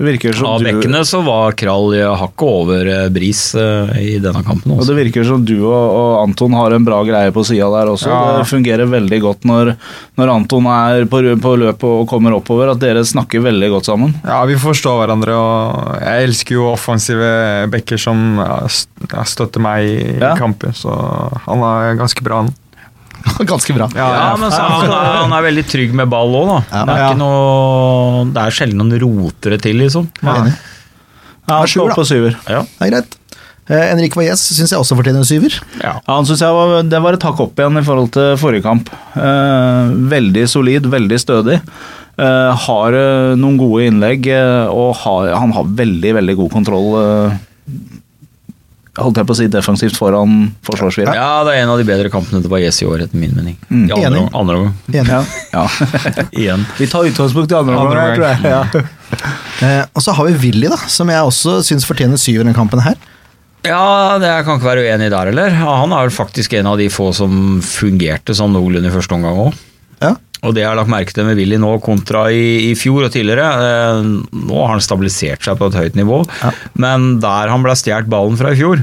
[SPEAKER 2] Det virker som
[SPEAKER 4] Av
[SPEAKER 2] du-
[SPEAKER 4] bekkene så var Krall eh, hakket over eh, Bris eh, i denne kampen
[SPEAKER 2] Og
[SPEAKER 4] også.
[SPEAKER 2] Det virker som du og, og Anton har en bra greie på sida der også.
[SPEAKER 3] Ja.
[SPEAKER 2] Det fungerer veldig godt når, når Anton er på, ru- på løpet og kommer oppover, at dere snakker veldig godt sammen.
[SPEAKER 3] Ja, vi forstår hverandre, og jeg elsker jo offensive backer som ja, st- ja, støtter meg i i
[SPEAKER 2] Ja.
[SPEAKER 3] kampen, så han er ganske bra, han.
[SPEAKER 1] Ganske bra.
[SPEAKER 3] Ja,
[SPEAKER 4] Ja,
[SPEAKER 3] ja.
[SPEAKER 4] men så, han, er, han er veldig trygg med ball òg, da.
[SPEAKER 1] Ja.
[SPEAKER 4] det, er
[SPEAKER 3] Ja.
[SPEAKER 4] ikke noe, det er sjelden han roter det til, liksom.
[SPEAKER 1] Enig.
[SPEAKER 2] Ja,
[SPEAKER 1] Ja,
[SPEAKER 2] han
[SPEAKER 1] sjuer,
[SPEAKER 2] står
[SPEAKER 1] da.
[SPEAKER 2] på syver.
[SPEAKER 4] Ja.
[SPEAKER 1] Det er greit. Eh, Henrik Valles syns jeg også fortjener en syver.
[SPEAKER 2] Ja, han synes jeg var, Det var et hakk opp igjen i forhold til forrige kamp. Eh, veldig solid, veldig stødig. Eh, har eh, noen gode innlegg, eh, og har, han har veldig, veldig god kontroll. Eh, holdt jeg på å si defensivt foran forsvarsvirket.
[SPEAKER 4] ja, det er en av de bedre kampene til Bajez i år, etter min mening.
[SPEAKER 2] Mm.
[SPEAKER 4] I andre,
[SPEAKER 1] Enig.
[SPEAKER 4] andre omgang.
[SPEAKER 1] Enig.
[SPEAKER 2] Ja.
[SPEAKER 4] Igjen.
[SPEAKER 2] Vi tar utgangspunkt i andre
[SPEAKER 3] Andre
[SPEAKER 2] omgang, tror jeg. Ja.
[SPEAKER 1] Eh, og så har vi Willy, da, som jeg også syns fortjener syver i denne kampen. her.
[SPEAKER 4] Ja, det jeg kan ikke være uenig der, eller? Ja, Han er vel faktisk en av de få som fungerte sånn noenlunde i første omgang òg.
[SPEAKER 1] Ja.
[SPEAKER 4] Og det jeg har lagt merke til med Willy nå kontra i, i fjor og tidligere eh, Nå har han stabilisert seg på et høyt nivå,
[SPEAKER 1] Ja.
[SPEAKER 4] men der han ble stjålet ballen fra i fjor,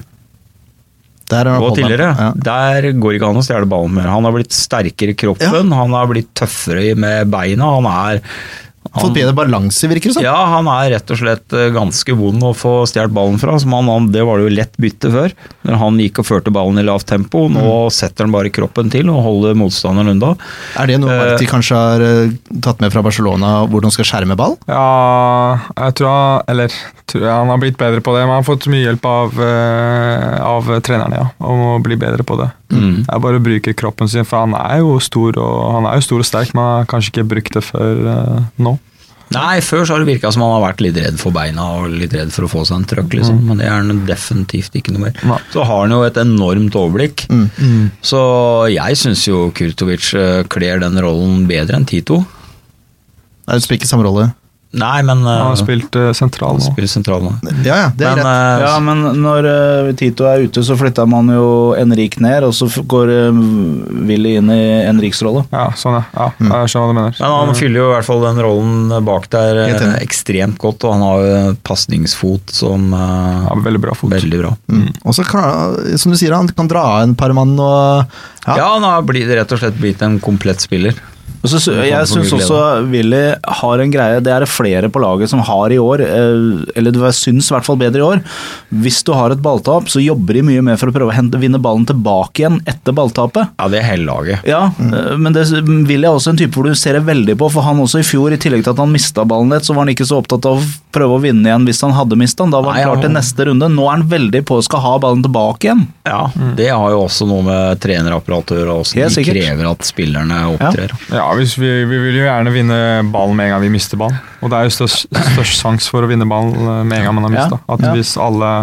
[SPEAKER 1] Der har han
[SPEAKER 4] og
[SPEAKER 1] holdt den.
[SPEAKER 4] tidligere.
[SPEAKER 1] Ja.
[SPEAKER 4] Der går ikke han å stjele ballen mer. Han har blitt sterkere i kroppen, han har blitt tøffere med beina. Han er
[SPEAKER 1] Fått bedre balanse, virker det som.
[SPEAKER 4] ja, han er rett og slett eh, ganske vond å få stjålet ballen fra. Som han, han, det var det jo lett bytte før, når han gikk og førte ballen i lavt tempo. Nå setter han bare kroppen til og holder motstanderen unna.
[SPEAKER 1] Er det noe
[SPEAKER 4] Eh,
[SPEAKER 1] Marti kanskje har eh, tatt med fra Barcelona, hvor de skal skjerme ball?
[SPEAKER 3] Ja, jeg tror han Eller tror jeg han har blitt bedre på det, men han har fått mye hjelp av, eh, av trenerne, ja. Om å bli bedre på det.
[SPEAKER 4] Mm.
[SPEAKER 3] Jeg bare bruker kroppen sin, for han er jo stor og, han er jo stor og sterk, men han har kanskje ikke brukt det før eh, nå.
[SPEAKER 4] Nei, før så har det virka som han har vært litt redd for beina og litt redd for å få seg en trøkk, liksom. Men det er han definitivt ikke noe mer.
[SPEAKER 3] Nei.
[SPEAKER 4] Så har han jo et enormt overblikk.
[SPEAKER 1] Mm.
[SPEAKER 4] Så jeg syns jo Kurtovic eh, kler den rollen bedre enn Tito.
[SPEAKER 1] Nei, Det spiller ikke samme rolle.
[SPEAKER 4] Nei, men eh,
[SPEAKER 3] Han har spilt eh, sentral
[SPEAKER 4] han
[SPEAKER 3] nå.
[SPEAKER 4] spiller sentral nå.
[SPEAKER 1] Ja, ja, det er
[SPEAKER 4] Men,
[SPEAKER 1] greit.
[SPEAKER 4] eh,
[SPEAKER 2] Ja, men når eh, Tito er ute, så flytta man jo Henrik ned, og så f- går eh, Willy inn i Henriks rolle.
[SPEAKER 3] Ja, sånn, ja. ja jeg skjønner hva du mener.
[SPEAKER 4] Men han fyller jo i hvert fall den rollen bak der eh,
[SPEAKER 1] Helt enig.
[SPEAKER 4] ekstremt godt, og han har jo en pasningsfot som eh,
[SPEAKER 3] Ja, veldig bra fot.
[SPEAKER 4] Veldig bra.
[SPEAKER 1] Mm. Og så kan, som du sier, han kan dra en par mann og
[SPEAKER 4] Ja,
[SPEAKER 1] Ja,
[SPEAKER 4] han har blitt, rett og slett blitt en komplett spiller.
[SPEAKER 2] Og så, sy-
[SPEAKER 4] Det kan
[SPEAKER 2] jeg syns
[SPEAKER 4] få mye glede.
[SPEAKER 2] også Willy har en greie, det er det flere på laget som har i år, eh, eller du syns i hvert fall bedre i år. Hvis du har et balltap, så jobber de mye med for å prøve å hente, vinne ballen tilbake igjen etter balltapet.
[SPEAKER 4] Ja, det er hele laget.
[SPEAKER 2] Ja, eh, men det vil jeg også en type hvor du ser det veldig på, for han også i fjor, i tillegg til at han mista ballen litt, så var han ikke så opptatt av å prøve å vinne igjen hvis han hadde mista den. Da var
[SPEAKER 4] Nei,
[SPEAKER 2] han klar
[SPEAKER 4] han-
[SPEAKER 2] til neste runde. Nå er han veldig på å skal ha ballen tilbake igjen.
[SPEAKER 4] Ja, Mm. Det har jo også noe med trenerapparatet å gjøre, og
[SPEAKER 2] Helt
[SPEAKER 4] hvordan de
[SPEAKER 2] sikkert.
[SPEAKER 4] krever at spillerne opptrer.
[SPEAKER 3] Ja, hvis vi, vi vil jo gjerne vinne ballen med en gang vi mister ballen. Og det er jo størst, størst sjanse for å vinne ballen eh, med en gang man har mista. At
[SPEAKER 2] ja.
[SPEAKER 3] hvis alle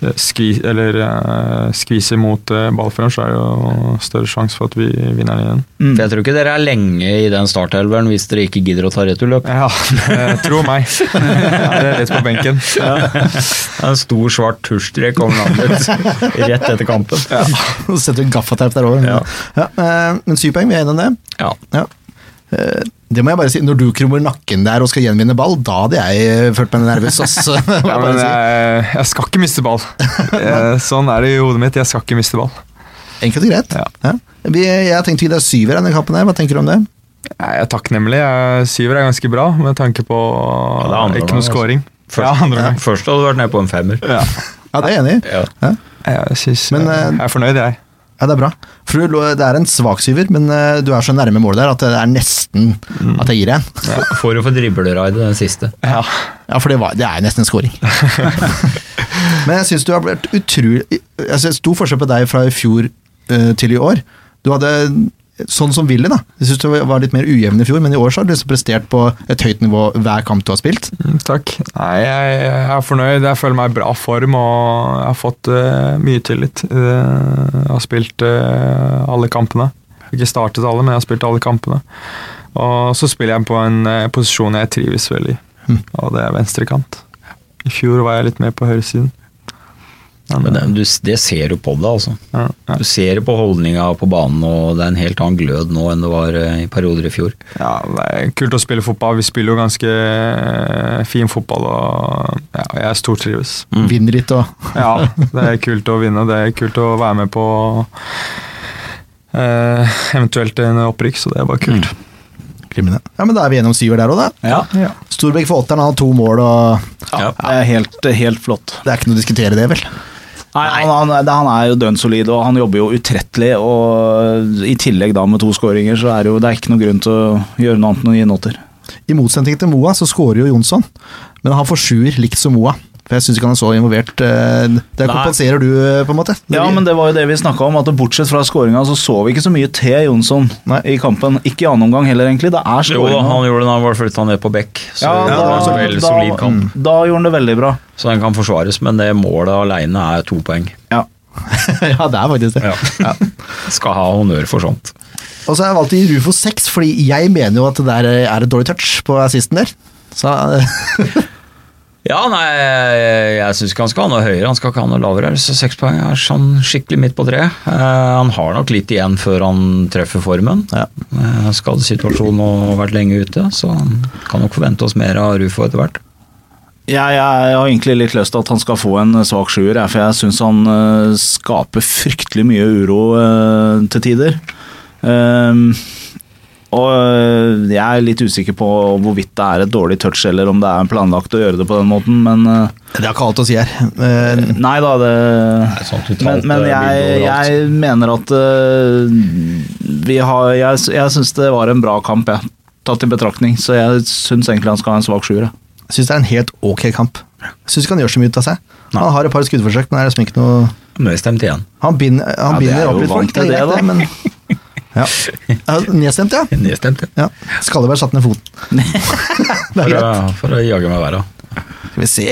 [SPEAKER 3] eh, skvi, eller, eh, skviser mot eh, ballføreren, så er det jo større sjanse for at vi vinner den igjen.
[SPEAKER 2] Mm.
[SPEAKER 4] For Jeg tror ikke dere er lenge i den startelveren hvis dere ikke gidder å ta returløp.
[SPEAKER 3] Ja, eh, tro meg. Ja, det er litt på benken.
[SPEAKER 4] En stor, svart tusjstrek over navnet rett etter kampen.
[SPEAKER 1] så setter du gaffateip der over.
[SPEAKER 4] Ja.
[SPEAKER 1] Ja, eh, men syv poeng, vi er enige om det?
[SPEAKER 4] Ja.
[SPEAKER 1] Ja. Eh, Det må jeg bare si, Når du krummer nakken der og skal gjenvinne ball, da hadde jeg eh, følt meg nervøs. ass. Må jeg
[SPEAKER 3] Ja,
[SPEAKER 1] bare
[SPEAKER 3] men eh,
[SPEAKER 1] si.
[SPEAKER 3] jeg, jeg skal ikke miste ball. Eh, Sånn er det i hodet mitt. Jeg skal ikke miste ball.
[SPEAKER 1] Enkelt og greit.
[SPEAKER 3] Ja.
[SPEAKER 1] Ja. Vi, jeg tenkte vi deg syver i denne kampen. her, Hva tenker du om det?
[SPEAKER 3] Jeg er takknemlig. Jeg- Syver er ganske bra, med tanke på
[SPEAKER 4] Ja, det er andre
[SPEAKER 3] ikke noe
[SPEAKER 4] gang, altså.
[SPEAKER 3] scoring.
[SPEAKER 4] Først, først hadde du vært nede på en femmer.
[SPEAKER 3] Ja.
[SPEAKER 1] Ja, det er jeg enig i.
[SPEAKER 4] Ja.
[SPEAKER 3] Jeg, synes,
[SPEAKER 1] Men, eh,
[SPEAKER 3] jeg er fornøyd, jeg.
[SPEAKER 1] Ja, det er bra. For du, lå- det er en svak syver, men eh, du er så nærme målet der at det er nesten at jeg gir deg en.
[SPEAKER 4] Får jo for dribleraid den siste.
[SPEAKER 3] Ja.
[SPEAKER 1] Ja, for det, var, det er jo nesten en scoring. Men jeg syns du har altså, blitt utrolig Jeg synes stor forskjell på deg fra i fjor eh, til i år. Du hadde Sånn som Willy, da. Jeg syns det var litt mer ujevn i fjor, men i år så har du liksom prestert på et høyt nivå hver kamp du har spilt.
[SPEAKER 3] Mm, Takk. Nei, jeg, jeg er fornøyd. Jeg føler meg i bra form og jeg har fått eh, mye tillit. Eh, jeg har spilt eh, alle kampene. Ikke startet alle, men jeg har spilt alle kampene. Og så spiller jeg på en eh, posisjon jeg trives veldig i,
[SPEAKER 1] Hm.
[SPEAKER 3] og det er venstrekant. I fjor var jeg litt mer på høyresiden.
[SPEAKER 4] Men
[SPEAKER 3] Men,
[SPEAKER 4] det, du, det ser du på det, altså.
[SPEAKER 3] ja, ja.
[SPEAKER 4] Du ser det på holdninga på banen, og det er en helt annen glød nå enn det var eh, i perioder i fjor.
[SPEAKER 3] ja, det er kult å spille fotball. Vi spiller jo ganske eh, fin fotball, og ja, jeg stortrives.
[SPEAKER 1] Vinner litt og
[SPEAKER 3] Ja, det er kult å vinne. Det er kult å være med på eh, eventuelt en opprykk, så det er bare kult.
[SPEAKER 1] kriminell. Ja, men da er vi gjennom syver der òg, da.
[SPEAKER 2] Ja,
[SPEAKER 3] Ja.
[SPEAKER 1] Storbekk for åtteren han har to mål, og
[SPEAKER 2] ja. Det er helt, helt flott.
[SPEAKER 1] det er ikke noe å diskutere det, vel?
[SPEAKER 2] Nei, han, han, er- han er jo dønn solid, og han jobber jo utrettelig. Og I tillegg da med to skåringer, så er det jo det er ikke noe grunn til å gjøre noe annet enn å gi noter.
[SPEAKER 1] I motsetning til Moa, så skårer jo Jonsson, men han får sjuer, likt som Moa. For jeg syns ikke han er så involvert. eh, Det kompenserer du, eh, på en måte.
[SPEAKER 2] Ja, men det var jo det vi snakka om, at bortsett fra skåringa så så vi ikke så mye til Jonsson
[SPEAKER 1] Nei.
[SPEAKER 2] i kampen. Ikke i annen omgang heller, egentlig. Det er
[SPEAKER 4] Jo da,
[SPEAKER 2] skåringa.
[SPEAKER 4] han gjorde det da han var flytta ned på bekk, så
[SPEAKER 2] Ja,
[SPEAKER 4] det var en veldig solid
[SPEAKER 2] da, mm.
[SPEAKER 4] kamp.
[SPEAKER 2] da gjorde han det veldig bra.
[SPEAKER 4] Så den kan forsvares, men det målet aleine er to poeng.
[SPEAKER 2] Ja.
[SPEAKER 1] ja, det er faktisk det.
[SPEAKER 4] Ja. Skal ha honnør for sånt.
[SPEAKER 1] Og så har jeg valgt i Rufo 6, fordi jeg mener jo at det der er et dårlig touch på assisten der. Så eh,
[SPEAKER 4] Ja, nei, jeg, jeg syns ikke han skal ha noe høyere, han skal ikke ha noe lavere. Så seks poeng er sånn skikkelig midt på treet. Eh, han har nok litt igjen før han treffer formen.
[SPEAKER 1] Ja.
[SPEAKER 4] Eh, skadesituasjonen og vært lenge ute, så han kan nok forvente oss mer av Rufo etter hvert.
[SPEAKER 2] Jeg, jeg har egentlig litt lyst til at han skal få en svak sjuer, jeg, for jeg syns han eh, skaper fryktelig mye uro eh, til tider. Ehm, og eh, jeg er litt usikker på hvorvidt det er et dårlig touch, eller om det er planlagt å gjøre det på den måten, men eh,
[SPEAKER 1] det har ikke alt å si her. Eh,
[SPEAKER 2] Nei da, det
[SPEAKER 4] er sånn totalt,
[SPEAKER 2] Men, men
[SPEAKER 4] eh,
[SPEAKER 2] jeg,
[SPEAKER 4] bilde overalt.
[SPEAKER 2] jeg mener at eh, vi har Jeg, s- jeg syns det var en bra kamp, jeg. Tatt i betraktning. Så jeg syns egentlig han skal ha en svak sjuer. jeg.
[SPEAKER 1] Jeg syns det er en helt ok kamp. Jeg Syns ikke han gjør så mye ut av seg. Han har et par skuddforsøk, men det er liksom ikke noe
[SPEAKER 4] Nøystemt igjen.
[SPEAKER 1] Han binder, han
[SPEAKER 2] Ja, det er
[SPEAKER 1] binder opp
[SPEAKER 2] jo
[SPEAKER 1] litt
[SPEAKER 2] vant
[SPEAKER 1] folk, det er
[SPEAKER 2] til
[SPEAKER 1] greit,
[SPEAKER 2] det,
[SPEAKER 1] det, men ja. Ja, Nedstemt, ja.
[SPEAKER 4] Nedstemt, ja.
[SPEAKER 1] ja. Skalleberg satte ned foten. det er
[SPEAKER 4] For,
[SPEAKER 1] greit.
[SPEAKER 4] å- for å jage meg verre.
[SPEAKER 1] Skal vi se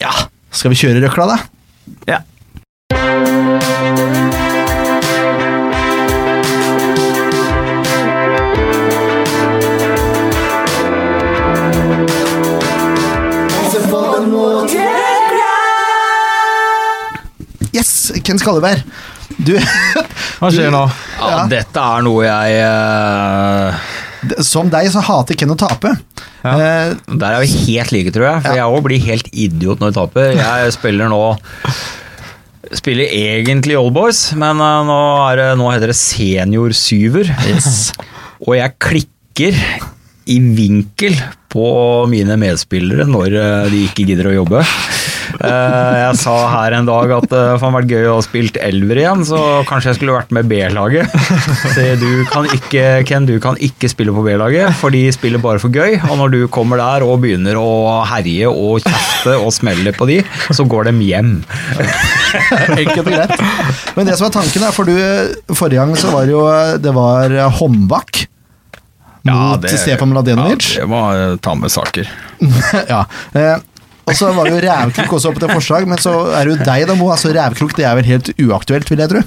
[SPEAKER 1] Ja, skal vi kjøre røkla, da?
[SPEAKER 2] Ja.
[SPEAKER 1] Yes, Ken Skalleberg. Du,
[SPEAKER 3] Hva skjer nå?
[SPEAKER 4] Ja, Dette er noe jeg eh,
[SPEAKER 1] som deg, så hater Ken å tape.
[SPEAKER 3] Ja.
[SPEAKER 1] Eh,
[SPEAKER 4] Der er vi helt like, tror jeg. For jeg òg blir helt idiot når jeg taper. Jeg spiller nå Spiller egentlig Old Boys, men eh, nå, er det, nå heter det senior syver. Og jeg klikker i vinkel på mine medspillere når eh, de ikke gidder å jobbe. Eh, Jeg sa her en dag at eh, det hadde vært gøy å ha spilt elver igjen, så kanskje jeg skulle vært med B-laget. Se, du kan ikke, Ken, du kan ikke spille på B-laget, for de spiller bare for gøy. Og når du kommer der og begynner å herje og kjefte og smelle på de, så går dem hjem.
[SPEAKER 1] Enkelt og greit. Men det som er tanken, er for du Forrige gang så var det jo Det var håndbak mot Stefan Mladenovic.
[SPEAKER 4] Ja, det må ta med saker.
[SPEAKER 1] ja. Eh, og så var det jo Rævkrok også oppe til forslag, men så er det jo deg da, Mo. Altså, Rævkrok det er vel helt uaktuelt, vil jeg tro.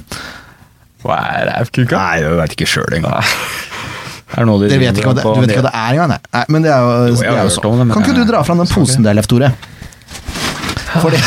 [SPEAKER 4] Hva er rævkuka? Nei, det veit ikke sjøl engang. Er det noe de
[SPEAKER 1] Dere vet ikke hva det, du vet ikke hva det er engang, nei. nei. Men det er jo,
[SPEAKER 4] Jo, jeg
[SPEAKER 1] det er
[SPEAKER 4] har
[SPEAKER 1] jo
[SPEAKER 4] hørt
[SPEAKER 1] sånn.
[SPEAKER 4] om det, men
[SPEAKER 1] Kan ikke du
[SPEAKER 4] jeg-
[SPEAKER 1] dra fram den posen der, Leif Tore? For det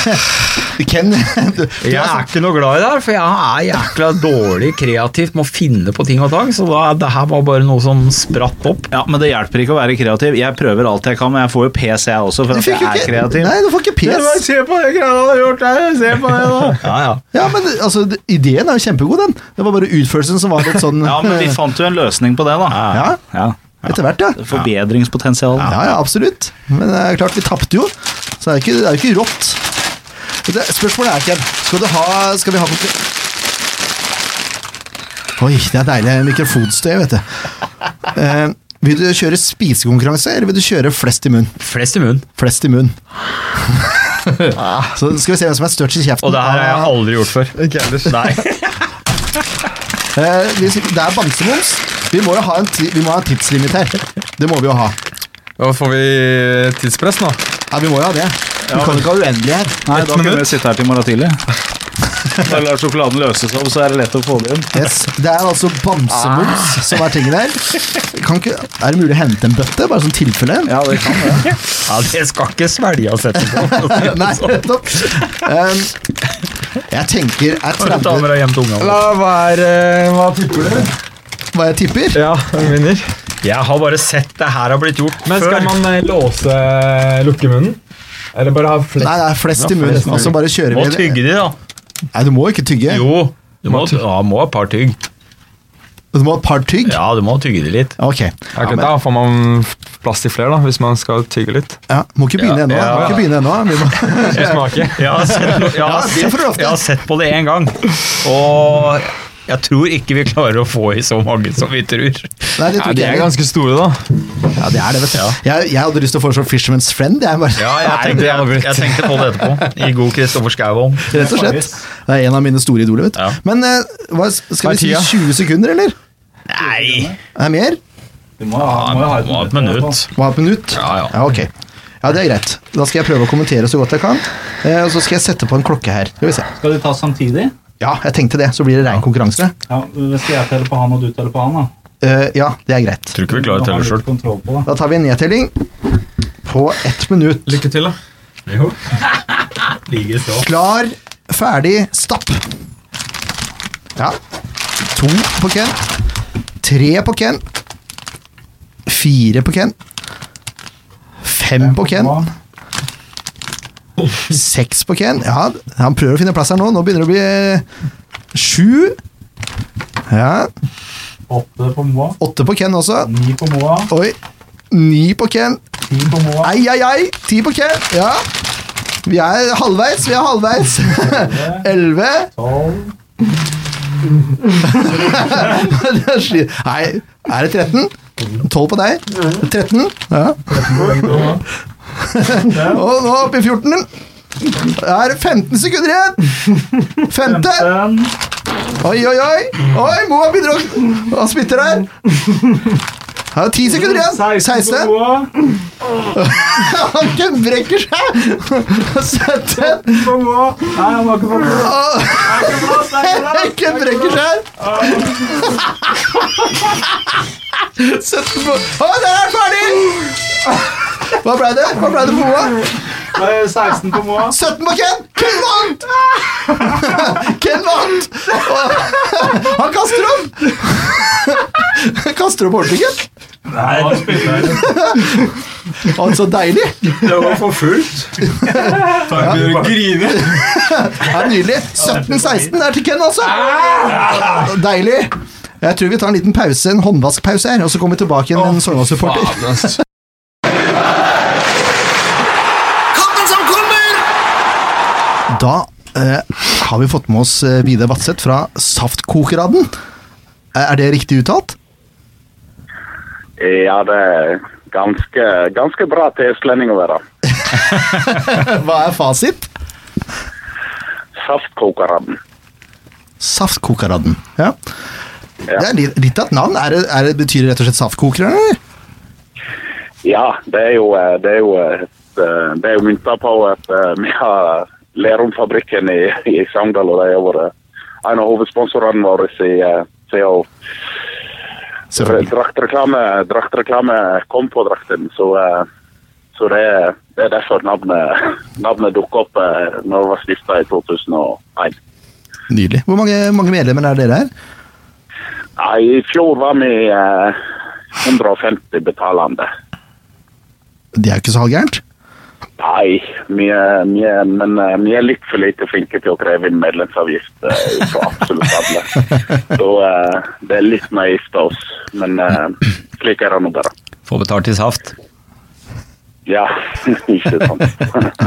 [SPEAKER 1] Ken du, du
[SPEAKER 4] Jeg
[SPEAKER 1] er
[SPEAKER 4] er
[SPEAKER 1] så-
[SPEAKER 4] ikke noe glad i det her, for jeg er jækla dårlig kreativt med å finne på ting og tang, så da, det her var bare noe som spratt opp.
[SPEAKER 2] Ja, men det hjelper ikke å være kreativ. Jeg prøver alt jeg kan, men jeg får jo PS jeg også, for
[SPEAKER 1] Du
[SPEAKER 2] at
[SPEAKER 1] fikk
[SPEAKER 2] jeg
[SPEAKER 1] jo
[SPEAKER 2] er
[SPEAKER 1] ikke
[SPEAKER 2] kreativ.
[SPEAKER 1] Nei, du får ikke pes.
[SPEAKER 2] Se på det greia du har gjort der! Se på det, da!
[SPEAKER 4] Ja, ja.
[SPEAKER 1] Ja, men altså, det- ideen er jo kjempegod, den. Det var bare utførelsen som var litt sånn
[SPEAKER 2] Ja, men vi fant jo en løsning på det, da.
[SPEAKER 1] Ja.
[SPEAKER 2] ja.
[SPEAKER 1] Etter hvert, ja.
[SPEAKER 2] Forbedringspotensial.
[SPEAKER 1] Ja, ja, absolutt. Men det er klart, vi tapte jo, så det er ikke, det er jo ikke rått. Men Det, spørsmålet er, Ken, skal, du ha, skal vi ha konkurranse? Oi, det er deilig mikrofonstøy, vet du. Eh, vil du kjøre spisekonkurranse, eller vil du kjøre flest i munn?
[SPEAKER 4] Flest i munnen.
[SPEAKER 1] Flest i munn. så skal vi se hvem som er størst i kjeften.
[SPEAKER 4] Og det her har jeg aldri gjort før.
[SPEAKER 3] Ikke ellers.
[SPEAKER 4] Nei.
[SPEAKER 1] Eh, vi- det er bamsemums. Vi må jo ha en, ti- vi må ha en tidslimit her. Det må vi jo ha.
[SPEAKER 3] Da får vi tidspress nå.
[SPEAKER 1] Ja, vi må jo ha det. Vi kan jo ikke ha uendelig her.
[SPEAKER 2] Nei, da kunne vi sitte her til i morgen tidlig. Da lar sjokoladen løse seg opp, så er det lett å få det inn.
[SPEAKER 1] Yes. Det er altså bamsemums som er tingen her. Kan ikke, er det mulig å hente en bøtte, bare som tilfelle?
[SPEAKER 2] Ja, det kan det.
[SPEAKER 4] Ja, det skal ikke svelges etterpå.
[SPEAKER 1] Nei, nettopp. Um, jeg tenker er 30
[SPEAKER 3] La, hva er eh, Hva tipper du?
[SPEAKER 1] hva jeg tipper.
[SPEAKER 3] Ja, hvem vinner?
[SPEAKER 4] Jeg har bare sett det her har blitt gjort
[SPEAKER 3] Men skal
[SPEAKER 4] før.
[SPEAKER 3] man eh, låse lukkemunnen? Eller bare ha flest?
[SPEAKER 1] Nei, det er flest i munnen, og så bare kjører
[SPEAKER 4] Må
[SPEAKER 1] vi.
[SPEAKER 4] tygge de, da.
[SPEAKER 1] Nei, du må ikke tygge.
[SPEAKER 4] Jo. Du må, ja, må ha et par tygg.
[SPEAKER 1] Du må ha et par tygg.
[SPEAKER 4] Ja, du må tygge de litt.
[SPEAKER 1] Ok.
[SPEAKER 3] Ja, men- Da får man f- plass til flere, da, hvis man skal tygge litt.
[SPEAKER 1] Ja, må ikke begynne
[SPEAKER 4] Ja,
[SPEAKER 1] ennå.
[SPEAKER 4] ja.
[SPEAKER 1] Må ikke begynne ennå. Vi må,
[SPEAKER 3] Skal smake.
[SPEAKER 4] Jeg har sett, jeg
[SPEAKER 1] Ja,
[SPEAKER 4] har
[SPEAKER 1] det
[SPEAKER 4] sett,
[SPEAKER 1] får du lov til.
[SPEAKER 4] jeg har sett på det én gang, og jeg tror ikke vi klarer å få i så mange som vi tror.
[SPEAKER 1] Nei, det
[SPEAKER 3] Ja,
[SPEAKER 1] tror
[SPEAKER 3] de
[SPEAKER 1] ikke
[SPEAKER 3] er
[SPEAKER 1] jeg.
[SPEAKER 3] ganske store, da.
[SPEAKER 1] Ja, det er det, vet du. Jeg, jeg hadde lyst til å foreslå Fisherman's Friend. Jeg bare,
[SPEAKER 4] Ja, jeg tenkte, jeg, jeg tenkte på det etterpå. I god Kristoffer Schauholm.
[SPEAKER 1] rett og slett. Det er en av mine store idoler, vet du.
[SPEAKER 4] Ja.
[SPEAKER 1] Men eh, hva, skal
[SPEAKER 3] Hva er
[SPEAKER 1] vi si
[SPEAKER 3] tida?
[SPEAKER 1] 20 sekunder, eller?
[SPEAKER 4] Nei!
[SPEAKER 1] Er det mer?
[SPEAKER 2] Du må ha,
[SPEAKER 4] Ja,
[SPEAKER 2] må jo ha
[SPEAKER 4] det må ha et minutt.
[SPEAKER 1] Må ha et minutt?
[SPEAKER 4] Ja, ja.
[SPEAKER 1] ja ok. Ja, det er greit. Da skal jeg prøve å kommentere så godt jeg kan. Eh, og så skal jeg sette på en klokke her. Skal vi se.
[SPEAKER 2] Skal de ta samtidig?
[SPEAKER 1] Ja, jeg tenkte det. Så blir det rein konkurranse.
[SPEAKER 2] Ja, Skal jeg telle på han og du teller på han? da?
[SPEAKER 1] Eh, ja, det er greit.
[SPEAKER 4] Tror ikke vi klarer å telle sjøl.
[SPEAKER 2] sjøl.
[SPEAKER 1] Da tar vi en nedtelling på ett minutt.
[SPEAKER 3] Lykke til, da.
[SPEAKER 1] Klar, ferdig, stapp. Ja. To på Ken. Tre på Ken. Fire på Ken. Fem på Ken. Seks på Ken. Ja, han prøver å finne plass her nå. Nå begynner det å bli eh, sju. Ja.
[SPEAKER 2] Åtte på Moa.
[SPEAKER 1] Åtte på Ken også.
[SPEAKER 2] Ni på Moa.
[SPEAKER 1] Oi. Ni på Ken.
[SPEAKER 2] Ti på Moa.
[SPEAKER 1] Ei, ei, ei. Ti på Ken. Ja. Vi er halvveis, vi er halvveis. Elleve.
[SPEAKER 2] Tolv.
[SPEAKER 1] Det er sli- Nei, er det 13? 12 på deg? 13? Ja. Og nå opp i 14. Det er 15 sekunder igjen! Femte!
[SPEAKER 2] Fem.
[SPEAKER 1] Oi, oi, oi! Oi, Moa begynner å Han spytter der. Her er 10 sekunder igjen. 16.
[SPEAKER 2] Moa.
[SPEAKER 1] Han brekker seg! 17.
[SPEAKER 2] På Moa. Nei, han har ikke fått plass. Han har
[SPEAKER 1] Henken
[SPEAKER 2] ikke fått plass.
[SPEAKER 1] brekker seg! 17 på Å, der er den ferdig! Hva ble det? Hva ble det for Moa?
[SPEAKER 2] Det er 16 på Moa.
[SPEAKER 1] 17 på Ken! Ken vant! Ken vant! Og Han kaster opp! Han kaster opp ordentlig, Ken. Han så deilig!
[SPEAKER 4] Det var for fullt.
[SPEAKER 1] Det er nydelig. 17-16 er til Ken, altså. Deilig. Jeg tror vi tar en liten pause, en håndvaskpause her, og så kommer vi tilbake igjen med en Sogndal-supporter.
[SPEAKER 5] Kampen som kommer!
[SPEAKER 1] Da eh, har vi fått med oss eh, Vidar Vadseth fra Saftkokeraden. Eh, Er det riktig uttalt?
[SPEAKER 6] Ja, det er ganske, ganske bra til østlending å være.
[SPEAKER 1] Hva er fasit?
[SPEAKER 6] Saftkokeradden.
[SPEAKER 1] Saftkokeradden. Ja.
[SPEAKER 6] Ja.
[SPEAKER 1] Det er litt, litt av et navn. Er det, er det, betyr det rett og slett saftkoker? Eller?
[SPEAKER 6] Ja, det er jo, eh, det er jo, et, eh, det er jo mynta på at eh, vi har Lerumfabrikken i, i Sogndal, og det har vært en av hovedsponsorene våre eh, siden siden
[SPEAKER 1] Selvfølgelig.
[SPEAKER 6] draktreklame, draktreklame kom på drakten. Så, eh, så det, er- det er derfor navnet, navnet dukket opp eh, når det var stifta i 2001.
[SPEAKER 1] Nydelig. Hvor mange, mange medlemmer er dere her?
[SPEAKER 6] Nei, I fjor var vi eh, 150 betalende.
[SPEAKER 1] Det er jo ikke så halvgærent.
[SPEAKER 6] Nei, vi er, vi er, men eh, vi er litt for lite flinke til å kreve inn medlemsavgift eh, for absolutt alle. Så eh, det er litt naivt av oss, men eh, slik er det nå bare.
[SPEAKER 4] Få betalt i saft.
[SPEAKER 6] Ja, ikke sant.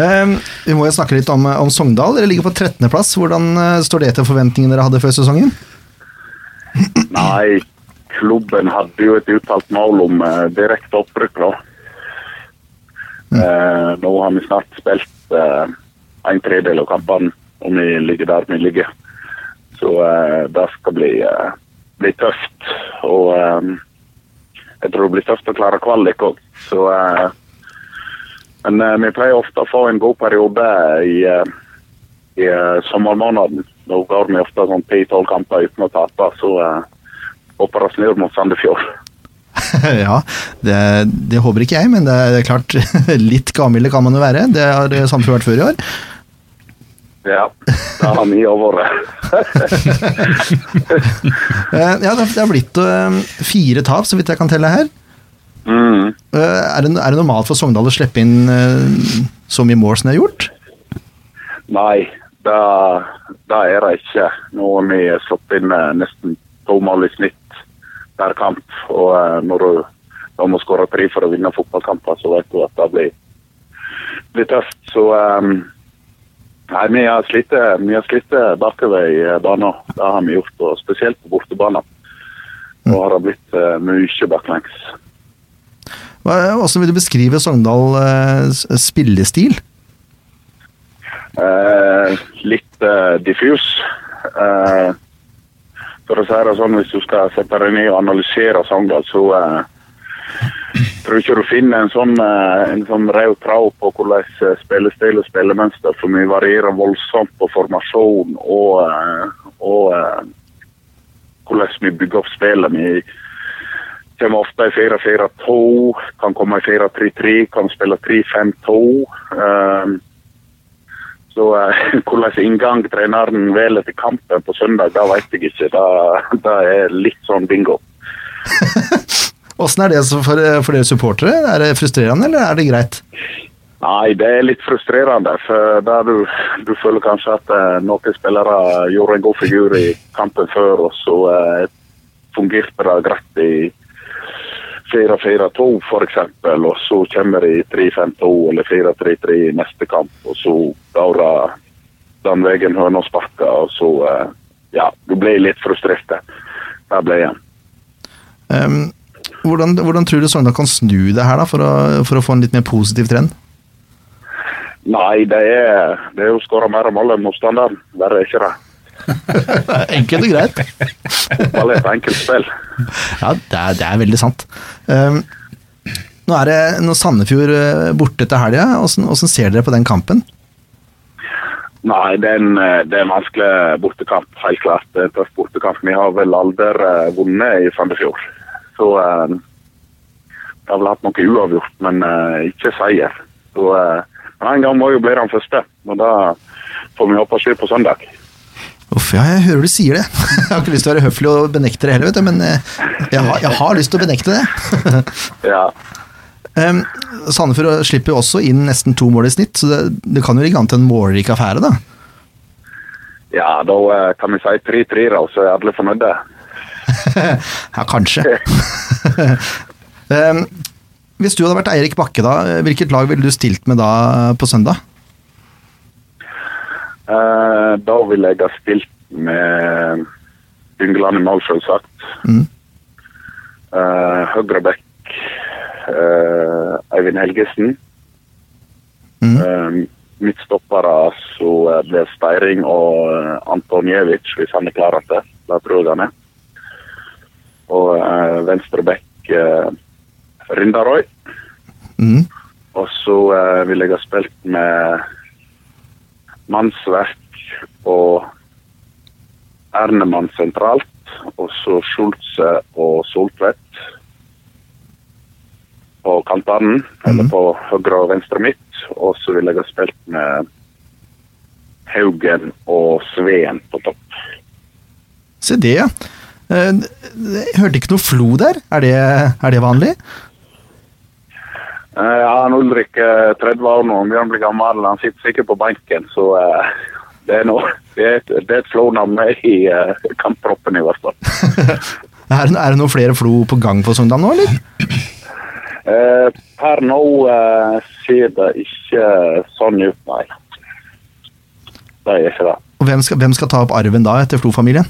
[SPEAKER 1] Ehm, vi må jo snakke litt om, om Sogndal. Dere ligger på 13.-plass. Hvordan eh, står det til forventningene dere hadde før sesongen?
[SPEAKER 6] Nei, klubben hadde jo et uttalt mål om eh, direkte opprykk, da. Eh, nå har vi snart spilt eh, en tredel av kampene, og vi ligger der vi ligger. Så eh, det skal bli, eh, bli tøft. Og eh, jeg tror det blir tøft å klare kvalik òg. Så eh, Men eh, vi pleier ofte å få en god periode i, eh, i eh, sommermåneden. Da går vi ofte sånn ti-tolv kamper uten å tape, så eh, håper det snur mot Sandefjord.
[SPEAKER 1] ja, det, det håper ikke jeg, men det er, det er klart litt gavmilde kan man jo være. Det har eh, Sandefjord vært før i år.
[SPEAKER 6] Ja, det har vi òg vært.
[SPEAKER 1] Eh, Ja, det har- det har blitt eh, fire tap, så vidt jeg kan telle her.
[SPEAKER 6] mm.
[SPEAKER 1] Eh, Er det, er det normalt for Sogndal å slippe inn eh, så mye mål som de har gjort?
[SPEAKER 6] Nei, det, det er det ikke. Nå har vi slått inn eh, nesten to mål i snitt per kamp. Og eh, når du da må skåre tre for å vinne fotballkamper, så vet du at det blir, blir tøft. Så eh, Nei, vi har slitt eh, vi har slitt bakover i eh, banen. Det har vi gjort, og spesielt på bortebanen. Nå har det blitt eh, mye baklengs.
[SPEAKER 1] Hva- Hvordan vil du beskrive Sogndal eh, s- spillestil?
[SPEAKER 6] Eh, litt eh, diffus. Eh, for å si det sånn, hvis du skal sette deg ned og analysere Sogndal, så eh, tror ikke du finner en sånn, eh, en sånn rød tråd på hvordan eh, spillestil og spillemønster, for vi varierer voldsomt på formasjon og, eh, og eh, hvordan vi bygger opp spillet. Vi kommer ofte i 4-4-2, kan komme i 4-3-3, kan spille 3-5-2. Eh, så eh, hvordan inngang treneren velger til kampen på søndag, det vet jeg ikke. Det, det er litt sånn bingo.
[SPEAKER 1] Åssen er det så for, eh, for dere supportere? Er det frustrerende, eller er det greit?
[SPEAKER 6] Nei, det er litt frustrerende. For der du, du føler kanskje at eh, noen spillere gjorde en god figur i kampen før, og så eh, fungerte det greit i 4-4-2 f.eks., og så kommer de i 3-5-2 eller 4-3-3 i neste kamp, og så går det den veien høna sparker, og så eh, Ja, du blir litt frustrert. der. Der ble jeg.
[SPEAKER 1] Ehm, hvordan, hvordan tror du Sogndal kan snu det her, da, for å, for å få en litt mer positiv trend?
[SPEAKER 6] Nei, det er, det er jo skåra mer mål enn motstanderen. Verre er ikke det.
[SPEAKER 1] Eh, Enkelt og greit.
[SPEAKER 6] Fotball er et enkelt spill.
[SPEAKER 1] Ja, det er, det er veldig sant. Ehm, nå er det nå er Sandefjord eh, borte til helga. Åssen åssen ser dere på den kampen?
[SPEAKER 6] Nei, det er en, eh, det er en vanskelig bortekamp, helt klart. Det er en tøff bortekamp. Vi har vel aldri eh, vunnet i Sandefjord. Så eh, det har vel hatt noe uavgjort, men eh, ikke seier. Så, eh, men en gang må jo bli den første, og da får vi håpe skjer på søndag.
[SPEAKER 1] Uff, ja, jeg hører du sier det. Jeg har ikke lyst til å være høflig og benekte det heller, vet du, men eh, jeg har, jeg har lyst til å benekte det.
[SPEAKER 6] Ja,
[SPEAKER 1] Ehm, Sandefjord slipper jo også inn nesten to mål i snitt, så det, det kan jo ligge an til en målrik affære, da.
[SPEAKER 6] ja da eh, kan vi si 3-3, da, så er alle fornøyde.
[SPEAKER 1] Ja, kanskje. Ehm, hvis du hadde vært Eirik Bakke, da, hvilket lag ville du stilt med da på søndag?
[SPEAKER 6] Eh, da ville jeg ha spilt med Yngland i mål, selvsagt.
[SPEAKER 1] Mm.
[SPEAKER 6] Eh, høyre back eh, Eivind Helgesen.
[SPEAKER 1] Mm.
[SPEAKER 6] Eh, Midtstoppere så eh, blir Steiring og eh, Antonjevic, hvis han er klar til det. Det tror jeg han er. Og eh, venstre back eh, Rindaroy.
[SPEAKER 1] Mm.
[SPEAKER 6] Og så eh, vil jeg ha spilt med Mannsverk og Ernemann sentralt. Og så Schulze og Soltvedt på kantene, eller på høyre og venstre midt. Og så vil jeg ha spilt med Haugen og Sveen på topp.
[SPEAKER 1] Se det, ja. Ehm, jeg hørte ikke noe flo der. Er det, er det vanlig?
[SPEAKER 6] Eh, ja, han Ulrik er 30 år nå, om han blir gammel. Han sitter sikkert på benken, så eh, det er noe. Det er et, det er et flånavn med i eh, kamptroppen, i hvert fall.
[SPEAKER 1] Er, det- er det noen flere flo på gang for Sogndal nå, eller?
[SPEAKER 6] Eh, per nå eh, ser det ikke sånn ut, nei. Det gjør ikke det.
[SPEAKER 1] Og hvem skal, hvem skal ta opp arven da, etter Flo-familien?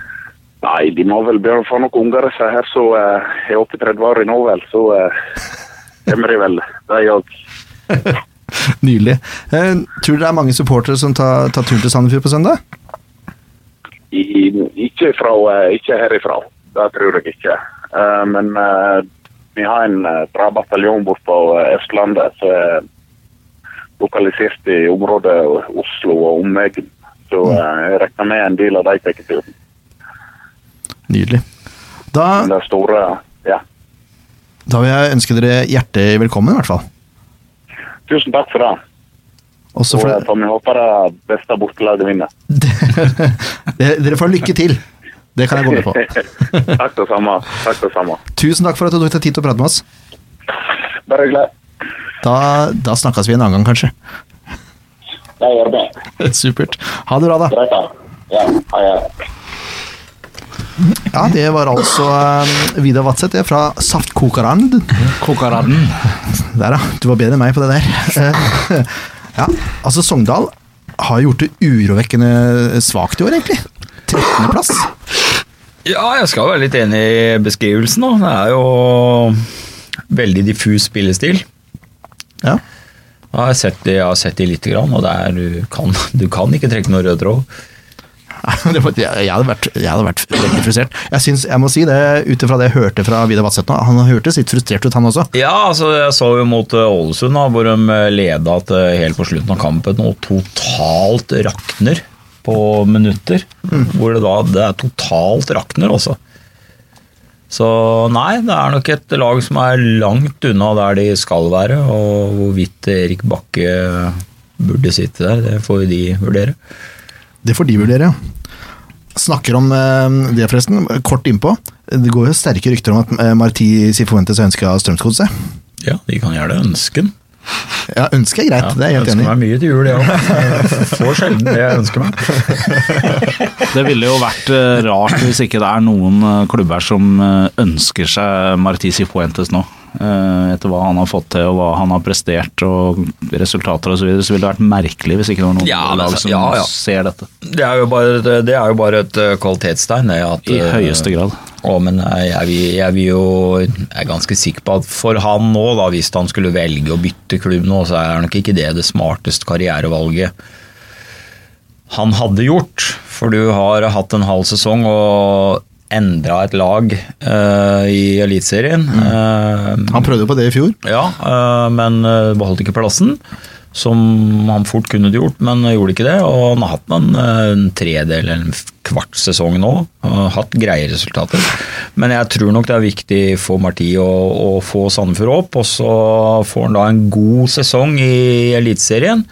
[SPEAKER 6] Nei, de må vel begynne å få noen unger av seg her som eh, er oppe i 30 år nå, vel. Så eh, kommer de vel, de òg.
[SPEAKER 1] Ehm, Nydelig. Eh, tror du det er mange supportere som tar, tar tur til Sandefjord på søndag?
[SPEAKER 6] i, ikke, fra, eh, ikke herifra. Det tror jeg ikke. Eh, Men eh, vi har en eh, bra bataljon borte på eh, Østlandet som er lokalisert i området Oslo og omegn. Så
[SPEAKER 1] Mm.
[SPEAKER 6] eh, jeg regner med en del av de tar turen.
[SPEAKER 1] Nydelig. Da,
[SPEAKER 6] Det store Ja.
[SPEAKER 1] da vil jeg ønske dere hjertelig velkommen, i hvert fall.
[SPEAKER 6] Tusen takk for det.
[SPEAKER 1] Også
[SPEAKER 6] Og
[SPEAKER 1] for
[SPEAKER 6] eh,
[SPEAKER 1] det,
[SPEAKER 6] får vi håpe det beste bortelaget vinner.
[SPEAKER 1] dere, dere får lykke til. Det kan jeg gå med på.
[SPEAKER 6] takk det samme. Takk det samme.
[SPEAKER 1] Tusen takk for at du tok deg tid til å prate med oss.
[SPEAKER 6] Bare gled.
[SPEAKER 1] Da, da snakkes vi en annen gang, kanskje.
[SPEAKER 6] Det gjør vi.
[SPEAKER 1] Supert. Ha det bra, da.
[SPEAKER 6] Greit, da. Ja, ha det.
[SPEAKER 1] Ja, det var altså eh, Vidar Vadseth det, fra Saftkokeren.
[SPEAKER 2] Kokaraden.
[SPEAKER 1] Der, ja. Du var bedre enn meg på det der. Eh, ja, altså Sogndal har gjort det urovekkende svakt i år, egentlig. 13.-plass.
[SPEAKER 4] Ja, jeg skal være litt enig i beskrivelsen. Da. Det er jo veldig diffus spillestil.
[SPEAKER 1] Ja.
[SPEAKER 4] Jeg har sett de, jeg har sett de lite grann, og det er, du, kan, du kan ikke trekke noen rød tråd.
[SPEAKER 1] Det var- Jeg jeg hadde vært, jeg hadde vært veldig frustrert. Jeg, synes, jeg må si det, ut ifra det jeg hørte fra Vidar Vadseth nå, han hørtes litt frustrert ut, han også.
[SPEAKER 4] Ja, altså jeg så jo mot eh, Ålesund da, hvor de eh, leda til helt på slutten av kampen og totalt rakner på minutter.
[SPEAKER 1] Mm.
[SPEAKER 4] Hvor det da det er totalt rakner også. Så nei, det er nok et lag som er langt unna der de skal være. Og hvorvidt Erik Bakke eh, burde sitte der, det får jo de vurdere.
[SPEAKER 1] Det får de vurdere, ja. Snakker om eh, det, forresten. Kort innpå. Det går jo sterke rykter om at eh, Marti Sifuentes ønska Strømsgodset.
[SPEAKER 4] Ja, de kan gjerne ønske den.
[SPEAKER 1] Ja, ønske er greit, det er jeg helt
[SPEAKER 4] ønsker
[SPEAKER 1] enig i.
[SPEAKER 4] meg mye til jul, jeg òg. Får sjelden det jeg ønsker meg.
[SPEAKER 2] Det ville jo vært eh, rart hvis ikke det er noen eh, klubber som eh, ønsker seg Martisi Fuentes nå. Eh, Etter hva han har fått til og hva han har prestert og resultater osv. Så, videre, så ville det vært merkelig hvis ikke det var noen
[SPEAKER 4] Ja, men
[SPEAKER 2] lag
[SPEAKER 4] så-
[SPEAKER 2] som
[SPEAKER 4] ja, ja.
[SPEAKER 2] ser dette.
[SPEAKER 4] Det er jo bare et, det er jo bare et eh, kvalitetstegn. det, At,
[SPEAKER 2] I
[SPEAKER 4] eh,
[SPEAKER 2] høyeste grad.
[SPEAKER 4] Å, men jeg, jeg, vil- jeg vil jo Jeg er ganske sikker på at for han nå, da, hvis han skulle velge å bytte klubb nå, så er nok ikke det det smarteste karrierevalget han hadde gjort. For du har hatt en halv sesong og endra et lag eh, i Eliteserien.
[SPEAKER 2] Mm.
[SPEAKER 4] Eh,
[SPEAKER 1] Han prøvde jo på det i fjor.
[SPEAKER 4] ja, eh, men eh, beholdt ikke plassen. Som han fort kunne gjort, men gjorde ikke det. Og han har hatt en, eh, en tredel eller en f- kvart sesong nå. Og hatt greie resultater. Men jeg tror nok det er viktig for Marti å, å få Sandefjord opp. Og så får han da en god sesong i Eliteserien.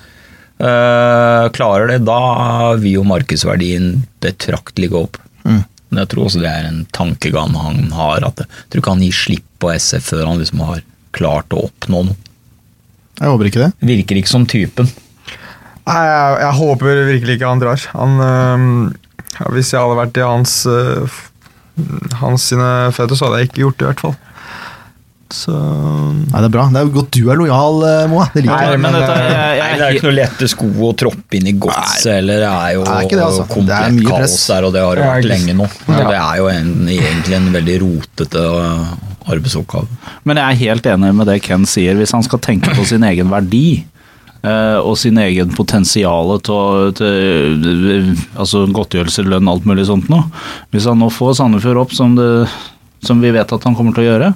[SPEAKER 4] Eh, klarer det, da vil jo markedsverdien betraktelig gå opp.
[SPEAKER 1] Mm.
[SPEAKER 4] Men jeg tror også det er en tankegang han har. At jeg tror ikke han gir slipp på SF før han liksom har klart å oppnå noe.
[SPEAKER 1] Jeg håper ikke det.
[SPEAKER 4] Virker ikke som typen.
[SPEAKER 3] Nei, jeg, jeg håper virkelig ikke han drar. Han, øhm, ja, hvis jeg hadde vært i hans øh, f- Hans sine føtter, så hadde jeg ikke gjort det, i hvert fall. Så
[SPEAKER 1] Nei, det er bra. Det er jo godt du er lojal, eh, Moa. Det liker
[SPEAKER 3] Nei,
[SPEAKER 1] jeg.
[SPEAKER 2] Men
[SPEAKER 3] men
[SPEAKER 2] dette,
[SPEAKER 3] det-
[SPEAKER 2] jeg,
[SPEAKER 4] eh, Nei, det er
[SPEAKER 2] jeg,
[SPEAKER 4] ikke noe lette sko å troppe inn i godset heller. Det er jo
[SPEAKER 1] Det er ikke det, altså. Det er
[SPEAKER 4] komplett
[SPEAKER 1] mye
[SPEAKER 4] kaos
[SPEAKER 1] press.
[SPEAKER 4] der, og det har det
[SPEAKER 3] Ja,
[SPEAKER 4] vært
[SPEAKER 3] ikke
[SPEAKER 4] lenge nå.
[SPEAKER 3] Ja.
[SPEAKER 4] Det er jo en, egentlig en veldig rotete øh, arbeidsoppgave.
[SPEAKER 2] Men jeg er helt enig med det Ken sier. Hvis han skal tenke på sin egen verdi eh, og sin egen potensial til å- til- altså godtgjørelser, lønn, alt mulig sånt noe. Hvis han nå får Sandefjord opp som det som vi vet at han kommer til å gjøre,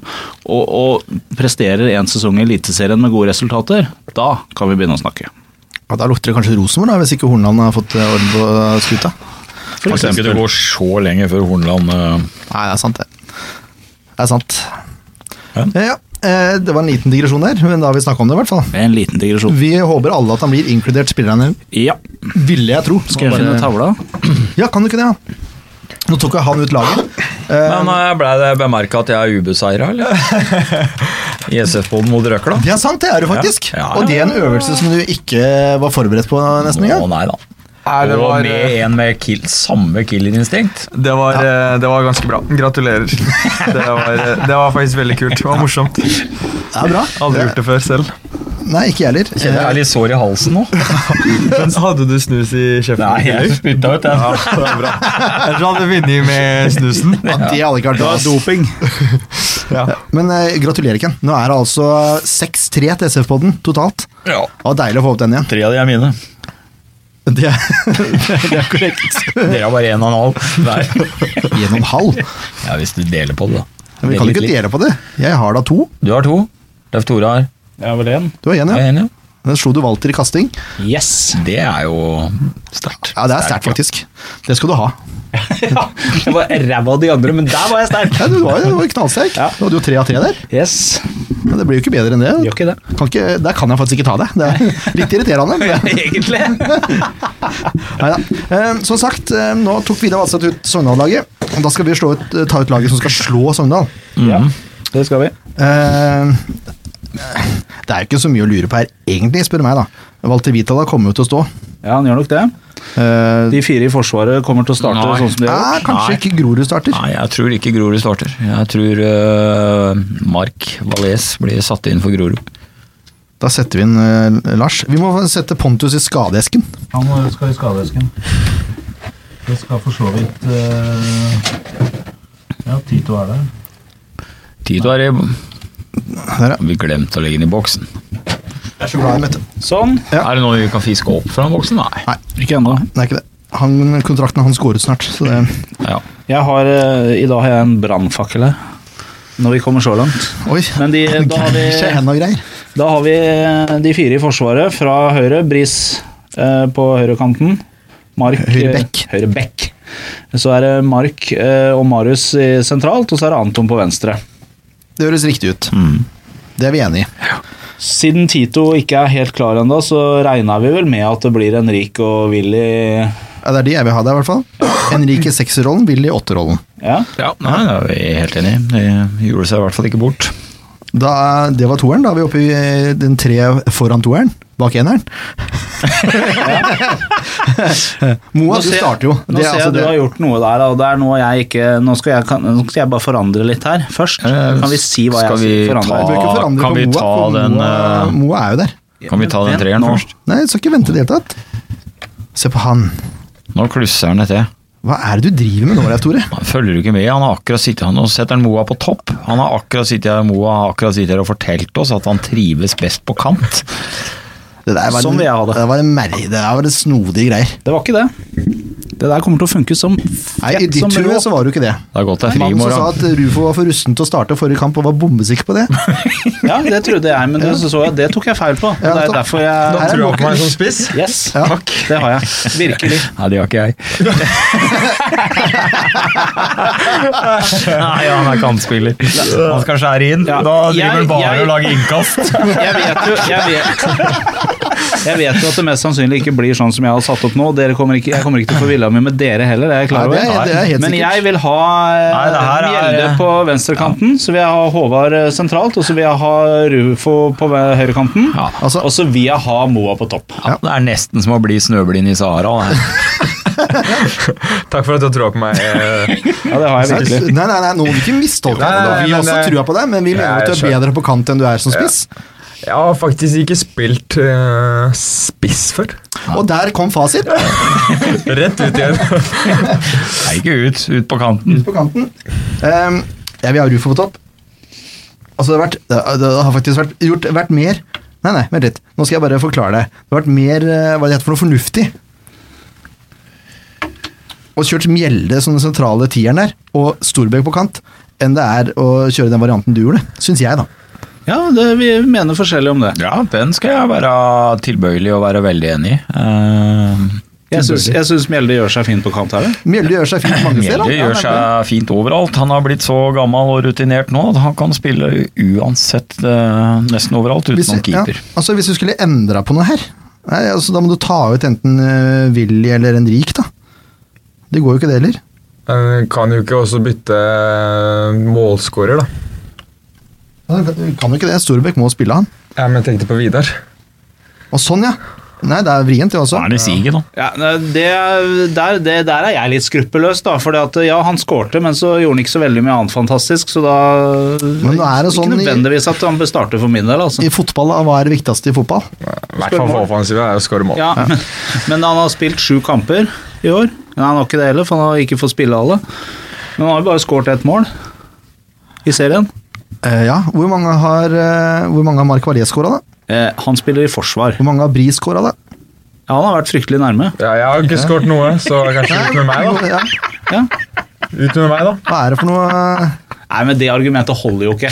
[SPEAKER 2] og, og presterer en sesong i Eliteserien med gode resultater, da kan vi begynne å snakke.
[SPEAKER 1] Ja, da lukter det kanskje Rosenborg, da, hvis ikke Hornland har fått eh, orden på skuta.
[SPEAKER 4] Jeg tror ikke det går så lenge før Hornland øh,
[SPEAKER 1] Nei, det er sant, det. Det er sant.
[SPEAKER 4] Ja.
[SPEAKER 1] Eh, ja. Eh, Det var en liten digresjon der, men da har vi snakka om det, i hvert fall.
[SPEAKER 2] Det er En liten digresjon.
[SPEAKER 1] Vi håper alle at han blir inkludert spillerne,
[SPEAKER 2] Ja,
[SPEAKER 1] ville jeg tro.
[SPEAKER 2] skal jeg
[SPEAKER 1] Bare-
[SPEAKER 2] finne tavla?
[SPEAKER 1] Ja, kan du ikke det, ja? Nå tok jo han ut laget. Eh,
[SPEAKER 4] Men øh, ble det bemerka at jeg er ubeseira, eller? I SF-boden mot Røkla?
[SPEAKER 1] det er sant, det er du faktisk.
[SPEAKER 4] Ja, ja, ja.
[SPEAKER 1] Og det er en øvelse som du ikke var forberedt på nesten
[SPEAKER 4] Å
[SPEAKER 1] engang.
[SPEAKER 4] nei da.
[SPEAKER 3] Nei, det,
[SPEAKER 4] og
[SPEAKER 3] var,
[SPEAKER 4] med
[SPEAKER 3] øh,
[SPEAKER 4] en med kill, samme killerinstinkt.
[SPEAKER 3] det, var, øh, det var ganske bra. Gratulerer. Det var, øh, det var faktisk veldig kult. Det var morsomt.
[SPEAKER 1] Det er bra.
[SPEAKER 3] Aldri gjort det før selv.
[SPEAKER 1] Nei, ikke jeg heller.
[SPEAKER 4] Jeg
[SPEAKER 3] Eh.
[SPEAKER 4] er litt sår i halsen nå.
[SPEAKER 3] Men hadde du snus i kjeften? eller?
[SPEAKER 4] spytta ut,
[SPEAKER 3] Ja, det var bra. Jeg tror jeg hadde vunnet med snusen.
[SPEAKER 1] Eh, Ja, det hadde ikke vært bra.
[SPEAKER 2] Doping.
[SPEAKER 3] Ja.
[SPEAKER 1] Men eh, gratulerer, Ken. Nå er det altså 6-3 til SF-podden totalt.
[SPEAKER 4] Ja.
[SPEAKER 1] Det var deilig å få opp den igjen.
[SPEAKER 4] Tre av de er mine.
[SPEAKER 1] Det er, det er korrekt.
[SPEAKER 4] Dere har bare én og en halv. Nei.
[SPEAKER 1] Gjennom halv.
[SPEAKER 4] Ja, hvis du deler på det, da.
[SPEAKER 1] Men vi kan jo ikke dele på det. Jeg har da to.
[SPEAKER 4] Du har to. Leif Tore har
[SPEAKER 2] Jeg har vel én.
[SPEAKER 1] Du har én,
[SPEAKER 4] har
[SPEAKER 1] ja.
[SPEAKER 4] en, ja.
[SPEAKER 1] Den slo du Walter i kasting.
[SPEAKER 2] Yes!
[SPEAKER 4] Det er jo sterkt.
[SPEAKER 1] Ja, det er sterkt, faktisk. Det skal du ha.
[SPEAKER 2] Jeg var ræva av de andre, men der var jeg sterk!
[SPEAKER 1] Ja, du var jo du var jo knallsterk.
[SPEAKER 2] Ja.
[SPEAKER 1] Du hadde jo tre av tre der.
[SPEAKER 2] Yes.
[SPEAKER 1] Men det blir jo ikke bedre enn det.
[SPEAKER 2] Gjør ikke det.
[SPEAKER 1] Kan ikke, der kan jeg faktisk ikke ta det. Det er litt irriterende. men-
[SPEAKER 2] Egentlig.
[SPEAKER 1] Neida. Eh, Som sagt, eh, nå tok Vidar Vadstad ut Sogndal-laget. og Da skal vi slå ut, eh, ta ut laget som skal slå Sogndal.
[SPEAKER 2] Ja, det skal vi.
[SPEAKER 1] Eh, Det er jo ikke så mye å lure på her, egentlig, spør du meg. da. Walter Vitala kommer jo til å stå.
[SPEAKER 2] Ja, han gjør nok det.
[SPEAKER 1] Eh,
[SPEAKER 2] De fire i Forsvaret kommer til å starte
[SPEAKER 4] Nei.
[SPEAKER 2] sånn som de
[SPEAKER 1] ja,
[SPEAKER 2] gjør.
[SPEAKER 1] kanskje ikke Grorud starter.
[SPEAKER 4] Nei, jeg tror ikke Grorud starter. Jeg tror øh, Mark Valais blir satt inn for Grorud.
[SPEAKER 1] Da setter vi inn eh, Lars. Vi må sette Pontus i skadeesken.
[SPEAKER 2] Han eh, skal i skadesken. Det skal for så vidt eh, Ja, Tito er der.
[SPEAKER 4] Tito er i
[SPEAKER 1] Der, ja.
[SPEAKER 4] Vi glemte å legge den i boksen.
[SPEAKER 1] Jeg er så glad i Mette.
[SPEAKER 2] Sånn.
[SPEAKER 1] Ja.
[SPEAKER 4] Er det noe vi kan fiske opp fra boksen? Nei.
[SPEAKER 2] Ikke ennå.
[SPEAKER 1] Det er ikke det. Han, kontrakten hans går ut snart, så det
[SPEAKER 4] Ja.
[SPEAKER 2] Jeg har, eh, I dag har jeg en brannfakkel her. Når vi kommer så langt.
[SPEAKER 1] Oi.
[SPEAKER 2] Men de, da, har
[SPEAKER 1] Greier seg
[SPEAKER 2] vi,
[SPEAKER 1] hen og greier.
[SPEAKER 2] da har vi eh, de fire i Forsvaret fra høyre. Bris eh, på høyrekanten. Mark
[SPEAKER 1] Høyre bekk.
[SPEAKER 2] eh, høyre bekk. Så er det Mark eh, og Marius i sentralt, og så er det Anton på venstre.
[SPEAKER 1] Det høres riktig ut. Det er vi enig i.
[SPEAKER 2] Siden Tito ikke er helt klar ennå, så regna vi vel med at det blir en rik og villig
[SPEAKER 1] Ja, det er de jeg vil ha der, i hvert fall. Henrik i sekserrollen, Willy i åtterrollen.
[SPEAKER 2] Ja,
[SPEAKER 4] ja. Nei, det er vi helt enig i. Det gjorde seg i hvert fall ikke bort.
[SPEAKER 1] Da, det var toeren. Da er vi oppe i eh, den tre foran toeren. Bak eneren. Moa, du
[SPEAKER 2] ser-
[SPEAKER 1] starter jo.
[SPEAKER 2] Nå
[SPEAKER 1] Det er
[SPEAKER 2] ser jeg
[SPEAKER 1] altså
[SPEAKER 2] du
[SPEAKER 1] det-
[SPEAKER 2] har gjort noe der, og det er noe jeg ikke Nå skal jeg, kan, nå skal jeg bare forandre litt her først.
[SPEAKER 4] Eh,
[SPEAKER 2] Kan vi si hva
[SPEAKER 4] skal vi
[SPEAKER 2] jeg
[SPEAKER 1] Vi bør
[SPEAKER 2] forandrer?
[SPEAKER 4] ta-
[SPEAKER 1] ikke forandre
[SPEAKER 4] Kan
[SPEAKER 1] på
[SPEAKER 4] vi
[SPEAKER 1] Moa,
[SPEAKER 4] ta
[SPEAKER 1] for
[SPEAKER 4] den,
[SPEAKER 1] Moa,
[SPEAKER 4] eh,
[SPEAKER 1] Moa er jo der.
[SPEAKER 4] Kan vi ta den
[SPEAKER 2] Vent
[SPEAKER 4] treeren
[SPEAKER 2] nå.
[SPEAKER 4] først?
[SPEAKER 1] Nei, du skal ikke vente i det hele tatt. Se på han.
[SPEAKER 4] Nå klusser han det til.
[SPEAKER 1] Hva er det du driver med nå, Leif Tore?
[SPEAKER 4] Han følger ikke med. Han har akkurat sittet han og setter han Moa på topp. Han har akkurat sittet her, Moa har akkurat sittet her og fortalt oss at han trives best på kant.
[SPEAKER 1] Det der var, en,
[SPEAKER 2] Sånn vil jeg ha det.
[SPEAKER 1] var en mer, det der var en snodige greier.
[SPEAKER 2] Det var ikke det. Det der kommer til å funke som
[SPEAKER 1] Nei, I
[SPEAKER 2] fett
[SPEAKER 1] ditt
[SPEAKER 2] som
[SPEAKER 1] hue
[SPEAKER 2] rått.
[SPEAKER 1] så var det jo ikke det.
[SPEAKER 4] Det er godt det er fri i
[SPEAKER 1] Mannen som sa
[SPEAKER 4] morgen.
[SPEAKER 1] at Rufo var for rusten til å starte forrige kamp og var bombesikker på det.
[SPEAKER 2] Ja, det trodde jeg, men det, så så jeg, det tok jeg feil på. Og
[SPEAKER 1] Ja,
[SPEAKER 2] det er
[SPEAKER 1] da-
[SPEAKER 2] derfor jeg
[SPEAKER 1] Her er
[SPEAKER 4] Tror du på meg
[SPEAKER 1] måken.
[SPEAKER 4] som spiss?
[SPEAKER 2] Yes,
[SPEAKER 1] Ja.
[SPEAKER 2] det har jeg. Virkelig.
[SPEAKER 4] Nei, det har ikke jeg. Nei, han er kantspiller. Han skal skjære inn.
[SPEAKER 2] Ja.
[SPEAKER 4] Da driver han
[SPEAKER 2] Jeg-
[SPEAKER 4] bare
[SPEAKER 2] jeg-
[SPEAKER 4] og lager innkast.
[SPEAKER 2] Jeg vet, jo, jeg, vet, jeg vet jo at det mest sannsynlig ikke blir sånn som jeg har satt opp nå. Dere kommer ikke, jeg kommer ikke til å få villa mi med dere heller, det er jeg klar
[SPEAKER 1] Nei, det er-
[SPEAKER 2] over.
[SPEAKER 1] det er helt
[SPEAKER 2] Men
[SPEAKER 1] sikkert.
[SPEAKER 2] jeg vil ha
[SPEAKER 4] Nei, det her
[SPEAKER 2] eh,
[SPEAKER 4] er-
[SPEAKER 2] Mjelde på venstrekanten, så vil jeg ha Håvard eh, sentralt, og så vil jeg ha Rufo på ve- høyrekanten.
[SPEAKER 4] Ja.
[SPEAKER 1] Altså,
[SPEAKER 2] Og så vil jeg ha Moa på topp.
[SPEAKER 4] Ja, det er nesten som å bli snøblind i Sahara. det.
[SPEAKER 3] Takk for at du har troa på meg. eh.
[SPEAKER 2] Ja, det har jeg
[SPEAKER 1] Nei,
[SPEAKER 2] virkelig.
[SPEAKER 1] nei, nei, nå må vi ikke mistolke
[SPEAKER 3] Nei, nei,
[SPEAKER 1] det.
[SPEAKER 3] nei,
[SPEAKER 1] Vi
[SPEAKER 3] men
[SPEAKER 1] også
[SPEAKER 3] det-
[SPEAKER 1] trua på deg, men vi mener
[SPEAKER 3] Nei,
[SPEAKER 1] at du er
[SPEAKER 3] jeg skjønner.
[SPEAKER 1] bedre på kant enn du er som spiss.
[SPEAKER 3] Jeg har faktisk ikke spilt eh, spiss før.
[SPEAKER 1] Og der kom fasit.
[SPEAKER 3] Rett ut igjen.
[SPEAKER 4] Nei, ikke ut. Ut på kanten.
[SPEAKER 1] På kanten. Ehm, jeg vil ha Rufo på topp. Altså, det har, vært, det har- det har faktisk vært, gjort, vært mer Nei, nei, vent litt. Nå skal jeg bare forklare det. Det har vært mer eh, hva det heter for noe fornuftig. Og kjørt Mjelde som den sentrale tieren der, og Storbekk på kant, enn det er å kjøre den varianten du gjorde. Syns jeg, da.
[SPEAKER 2] Ja, det, vi mener forskjellig om det.
[SPEAKER 4] Ja, den skal jeg være tilbøyelig og være veldig enig i. Eh,
[SPEAKER 2] Jeg syns, jeg syns Mjelde gjør seg fin på kant her. jeg.
[SPEAKER 1] Mjelde gjør seg fint mange steder. da.
[SPEAKER 4] Mjelde gjør seg fint overalt. Han har blitt så gammel og rutinert nå at han kan spille uansett eh, nesten overalt
[SPEAKER 1] Hvis-
[SPEAKER 4] utenom keeper.
[SPEAKER 1] Ja, altså Hvis du skulle endra på noe her, nei, altså, da må du ta ut enten eh, Willy eller Henrik, da. Det går jo ikke, det heller.
[SPEAKER 3] Men kan jo ikke også bytte målskårer, da.
[SPEAKER 1] Ja, du kan- du kan jo ikke det. Storbekk må spille han.
[SPEAKER 3] Ja, men jeg tenkte på Vidar.
[SPEAKER 1] Og sånn, ja. Nei, det er vrient, det
[SPEAKER 4] Da
[SPEAKER 1] også.
[SPEAKER 4] er det siget, da.
[SPEAKER 2] Ja, det, der, det, der er jeg litt skruppelløs, da. For ja, han skårte, men så gjorde han ikke så veldig mye annet fantastisk, så da
[SPEAKER 1] Men nå er det sånn
[SPEAKER 2] Ikke
[SPEAKER 1] i-
[SPEAKER 2] nødvendigvis at han bør starte for min del, altså.
[SPEAKER 1] I fotball, da, hva er det viktigste i fotball?
[SPEAKER 3] I hvert fall for offensivet er å skåre mål.
[SPEAKER 2] Ja, men han har spilt sju kamper i år. Nei, han har ikke det heller, for han har ikke fått spille alle. Men han har jo bare skåret ett mål i serien.
[SPEAKER 1] Eh, ja, Hvor mange har, eh, hvor mange har Mark Valais skåra, da?
[SPEAKER 2] Eh, han spiller i forsvar.
[SPEAKER 1] Hvor mange har Bris skåra, da?
[SPEAKER 2] Ja, Ja, han har vært fryktelig nærme.
[SPEAKER 3] Ja, jeg har ikke skåret noe, så kanskje ut med meg, da.
[SPEAKER 1] Ja,
[SPEAKER 2] Ja.
[SPEAKER 3] Ut med meg, da.
[SPEAKER 1] hva er det for noe eh,
[SPEAKER 2] Nei, men det argumentet holder jo ikke.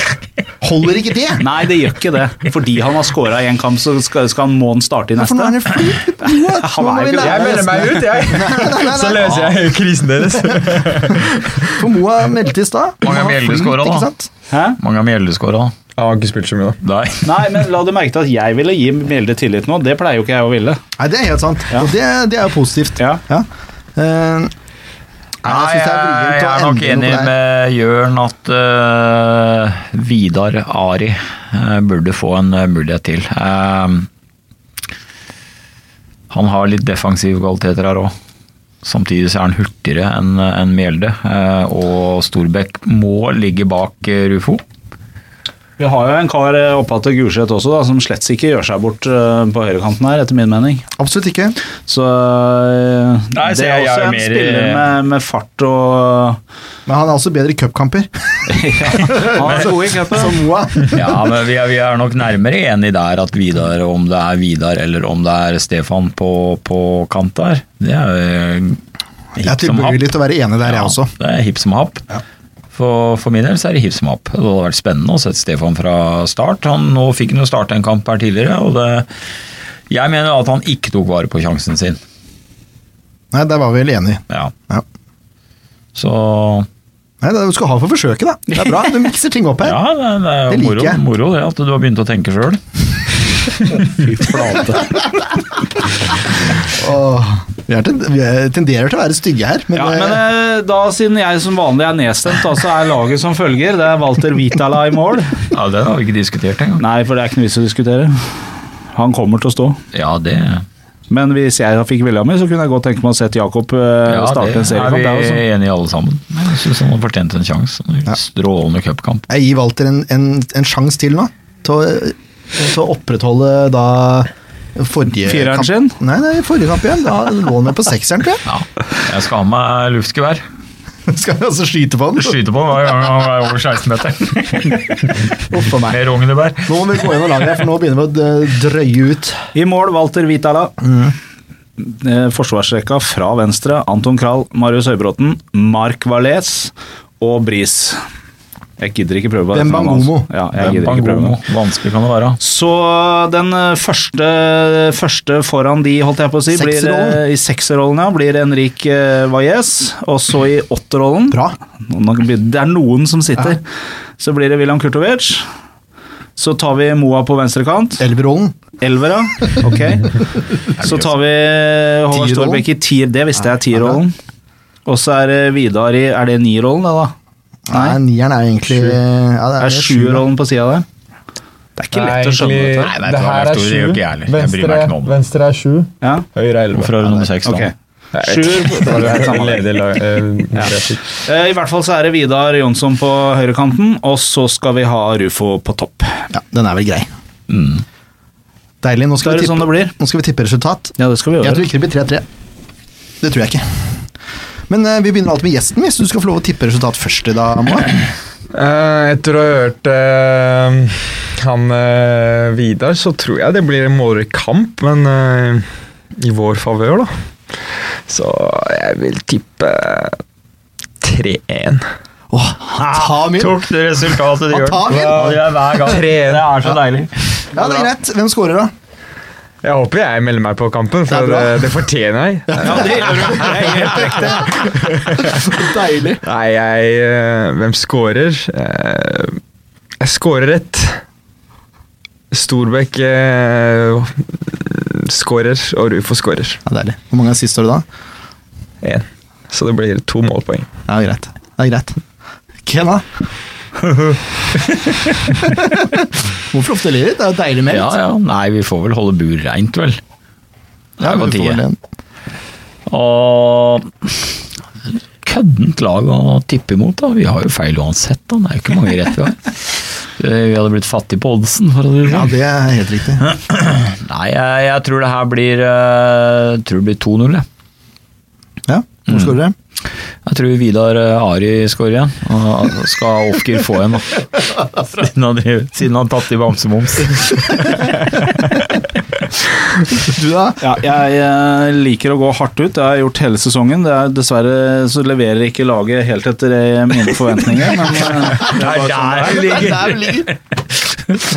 [SPEAKER 1] Holder ikke det?
[SPEAKER 2] Nei, det gjør ikke det. Fordi han har scora i én kamp, så skal, skal han, må han starte i
[SPEAKER 1] For nå
[SPEAKER 2] neste.
[SPEAKER 1] er det flink Johan.
[SPEAKER 2] Han
[SPEAKER 1] Nå
[SPEAKER 2] er
[SPEAKER 1] må vi
[SPEAKER 2] jo ikke-
[SPEAKER 1] lære
[SPEAKER 3] Jeg melder meg
[SPEAKER 1] gjestene.
[SPEAKER 3] ut, jeg. Så løser jeg krisen deres.
[SPEAKER 1] For Moa meldte i stad.
[SPEAKER 4] Mange
[SPEAKER 1] Han var
[SPEAKER 4] bjeller
[SPEAKER 1] flink,
[SPEAKER 4] skåret, da.
[SPEAKER 1] ikke sant?
[SPEAKER 2] Hæ?
[SPEAKER 4] Mange av Mjelde-skåra.
[SPEAKER 3] Jeg har ikke spilt så mye, da.
[SPEAKER 4] Nei.
[SPEAKER 2] Nei, men la du merke til at jeg ville gi Mjelde tillit nå. Det pleier jo ikke jeg å ville.
[SPEAKER 1] Nei, det er helt sant.
[SPEAKER 2] Ja.
[SPEAKER 1] Og det, det er jo positivt.
[SPEAKER 2] Ja.
[SPEAKER 1] Eh,
[SPEAKER 4] Nei,
[SPEAKER 1] jeg synes
[SPEAKER 4] jeg,
[SPEAKER 1] det er vrient å
[SPEAKER 4] er nok
[SPEAKER 1] endre noe
[SPEAKER 4] enig
[SPEAKER 1] der.
[SPEAKER 4] med Jørn at eh, Vidar Ari eh, burde få en eh, mulighet til. Eh, han har litt defensive kvaliteter her òg. Samtidig så er han hurtigere enn enn Mjelde. eh, og Storbekk må ligge bak eh, Rufo.
[SPEAKER 2] Vi har jo en kar eh, oppe til Gulset også, da, som slett ikke gjør seg bort eh, på høyrekanten her, etter min mening.
[SPEAKER 1] Absolutt ikke.
[SPEAKER 2] Så eh,
[SPEAKER 4] Nei, så
[SPEAKER 2] det er
[SPEAKER 4] jeg- jeg
[SPEAKER 2] også
[SPEAKER 4] er
[SPEAKER 2] en
[SPEAKER 4] mer eh, i-
[SPEAKER 2] spiller med, med fart og
[SPEAKER 1] Men han er også bedre i cupkamper.
[SPEAKER 2] Han er god i
[SPEAKER 1] Som
[SPEAKER 2] cupen.
[SPEAKER 1] Moa.
[SPEAKER 4] Ja, men vi er, vi er nok nærmere enig der at Vidar, om det er Vidar eller om det er Stefan på, på kant der, det er eh, jo
[SPEAKER 1] Jeg er tilbøyelig til å være enig der, jeg også.
[SPEAKER 4] Det er hipp som happ. For, for min del så er det hipp som happ. Det hadde vært spennende å sette Stefan fra start. Han, nå fikk han jo starte en kamp her tidligere, og det, jeg mener at han ikke tok vare på sjansen sin.
[SPEAKER 1] Nei, der var vi vel enige.
[SPEAKER 4] Ja.
[SPEAKER 1] Ja.
[SPEAKER 4] Så
[SPEAKER 1] Nei, det er- du skal ha for forsøket, da. Det er bra. Du mikser ting opp her.
[SPEAKER 4] ja, det, det er jo
[SPEAKER 1] Det liker
[SPEAKER 4] moro,
[SPEAKER 1] jeg.
[SPEAKER 4] moro det at du har begynt å tenke sjøl.
[SPEAKER 1] Åh, vi, er tend vi er- tenderer til å være stygge her, men,
[SPEAKER 2] Ja, men eh, da, siden jeg som vanlig er nedstemt, da, så er laget som følger. Det er Walter Vitala i mål.
[SPEAKER 4] Ja, det har vi ikke diskutert engang.
[SPEAKER 2] Nei, for det er ikke noe vits å diskutere. Han kommer til å stå.
[SPEAKER 4] Ja, det,
[SPEAKER 2] Men hvis jeg fikk vilja mi, så kunne jeg godt tenke meg å sette Jakob eh,
[SPEAKER 4] ja, det
[SPEAKER 2] starte en
[SPEAKER 4] er
[SPEAKER 2] seriekamp.
[SPEAKER 4] vi
[SPEAKER 2] det er jo sånn.
[SPEAKER 4] enige i alle sammen. Jeg syns han har fortjent en sjanse. Strålende cupkamp.
[SPEAKER 2] eh,
[SPEAKER 1] jeg gir Walter en, en, en sjanse til nå. Til å, til å opprettholde da forrige
[SPEAKER 2] Fireren
[SPEAKER 1] kamp.
[SPEAKER 2] sin?
[SPEAKER 1] Nei, nei, forrige kamp igjen. Da lå han med på sekseren, tror jeg.
[SPEAKER 4] Ja, jeg skal ha med luftgevær.
[SPEAKER 1] Skal vi altså skyte på han?
[SPEAKER 4] Skyte på hver gang han er over 16 meter.
[SPEAKER 1] Uff a meg.
[SPEAKER 4] Mer Rognebær.
[SPEAKER 1] Nå må vi gå gjennom laget, her, for nå begynner vi å d- drøye ut.
[SPEAKER 2] I mål Walter Vitala. Mm. Eh, Forsvarsrekka fra venstre Anton Krall, Marius Høybråten, Mark Valais og Bris. Jeg gidder ikke prøve. på det.
[SPEAKER 1] Bangomo.
[SPEAKER 2] Ja, jeg gidder ikke prøve.
[SPEAKER 4] Bangomo. Vanskelig kan det være.
[SPEAKER 2] Så den eh, første, første foran de, holdt jeg på å si, blir,
[SPEAKER 1] Sekserrollen.
[SPEAKER 2] eh, i sekserrollen ja, blir Henrik eh, Valles. Og så i åtterrollen
[SPEAKER 1] Bra.
[SPEAKER 2] Nå kan vi- Det er noen som sitter. Så blir det William Kurtovic. Så tar vi Moa på venstre kant.
[SPEAKER 1] Elverollen.
[SPEAKER 2] Elvera. Ok. Så tar vi Håvard
[SPEAKER 1] Tierrollen.
[SPEAKER 2] Storbekk i tier. Det visste jeg er tierrollen. Og så er det Vidar i Er det nierrollen, det, da?
[SPEAKER 1] Nei, nieren er egentlig ja,
[SPEAKER 2] Er det sjuerrollen på sida der? Det er ikke lett å skjønne dette.
[SPEAKER 4] Nei, det her er sju. Jeg bryr meg ikke noe om det.
[SPEAKER 3] venstre er sju,
[SPEAKER 2] Ja,
[SPEAKER 3] høyre er
[SPEAKER 4] Hvorfor har du nummer seks, da?
[SPEAKER 2] ok. Sjuer på- det er helt samme. Eh, I hvert fall så er det Vidar Jonsson på høyrekanten, og så skal vi ha Rufo på topp.
[SPEAKER 1] Ja, den er vel grei. Deilig. Nå
[SPEAKER 2] Da
[SPEAKER 1] skal, vi
[SPEAKER 2] er det
[SPEAKER 1] tippe,
[SPEAKER 2] sånn det blir.
[SPEAKER 1] nå skal vi tippe resultat.
[SPEAKER 2] Ja, det skal vi
[SPEAKER 1] Jeg tror
[SPEAKER 2] gjøre.
[SPEAKER 1] ikke det blir 3-3. Det tror jeg ikke. Men eh, vi begynner alltid med gjesten, hvis du skal få lov å tippe resultat først i dag. Moa.
[SPEAKER 3] Etter å ha hørt eh, han eh, Vidar, så tror jeg det blir en målrik kamp, men eh, i vår favør, da. Så jeg vil tippe 3-1.
[SPEAKER 1] Åh, ta min!
[SPEAKER 4] Tok det resultatet
[SPEAKER 1] Han tar min!
[SPEAKER 4] Ja, det er hver gang. Det er så deilig.
[SPEAKER 1] Ja, det er greit. Hvem scorer, da?
[SPEAKER 3] Jeg håper jeg melder meg på kampen,
[SPEAKER 1] Det er
[SPEAKER 3] for det,
[SPEAKER 1] bra.
[SPEAKER 3] det, fortjener jeg.
[SPEAKER 1] Deilig.
[SPEAKER 3] Nei, jeg eh, Hvem scorer? Eh, Jeg scorer rett. Storbekk eh, scorer, og Rufo scorer.
[SPEAKER 1] Ja, deilig. Hvor mange er sist år da?
[SPEAKER 3] Én. Så det blir to målpoeng.
[SPEAKER 1] Ja, greit. Det er greit. Ken, da? Hvorfor ofte ler du? Det er jo deilig meldt.
[SPEAKER 4] Ja, ja. Nei, vi får vel holde bur reint, vel.
[SPEAKER 1] Ja, men
[SPEAKER 4] på
[SPEAKER 1] vi får
[SPEAKER 4] tide.
[SPEAKER 1] vel en-
[SPEAKER 4] Og køddent lag å tippe imot, da. Vi har jo feil uansett, da. Det er jo ikke mange rett vi har. Eh, Vi hadde blitt fattig på oddsen, for å si det
[SPEAKER 1] Ja,
[SPEAKER 4] sånn.
[SPEAKER 1] det er helt riktig.
[SPEAKER 4] Nei, jeg, jeg tror det her blir, eh, tror det blir 2-0, jeg.
[SPEAKER 1] Ja, hvor scorer dere?
[SPEAKER 4] Jeg tror Vidar eh, Ari skårer igjen. Og skal Ofker få en, da. Siden han, driver- siden han tatt i bamsemums.
[SPEAKER 1] Du da?
[SPEAKER 2] Ja, jeg eh, liker å gå hardt ut. Det har jeg gjort hele sesongen. Det er, dessverre så leverer ikke laget helt etter eh, mine forventninger. Men eh, det er bare sånn det er.
[SPEAKER 4] der
[SPEAKER 1] Der
[SPEAKER 4] ligger
[SPEAKER 1] ligger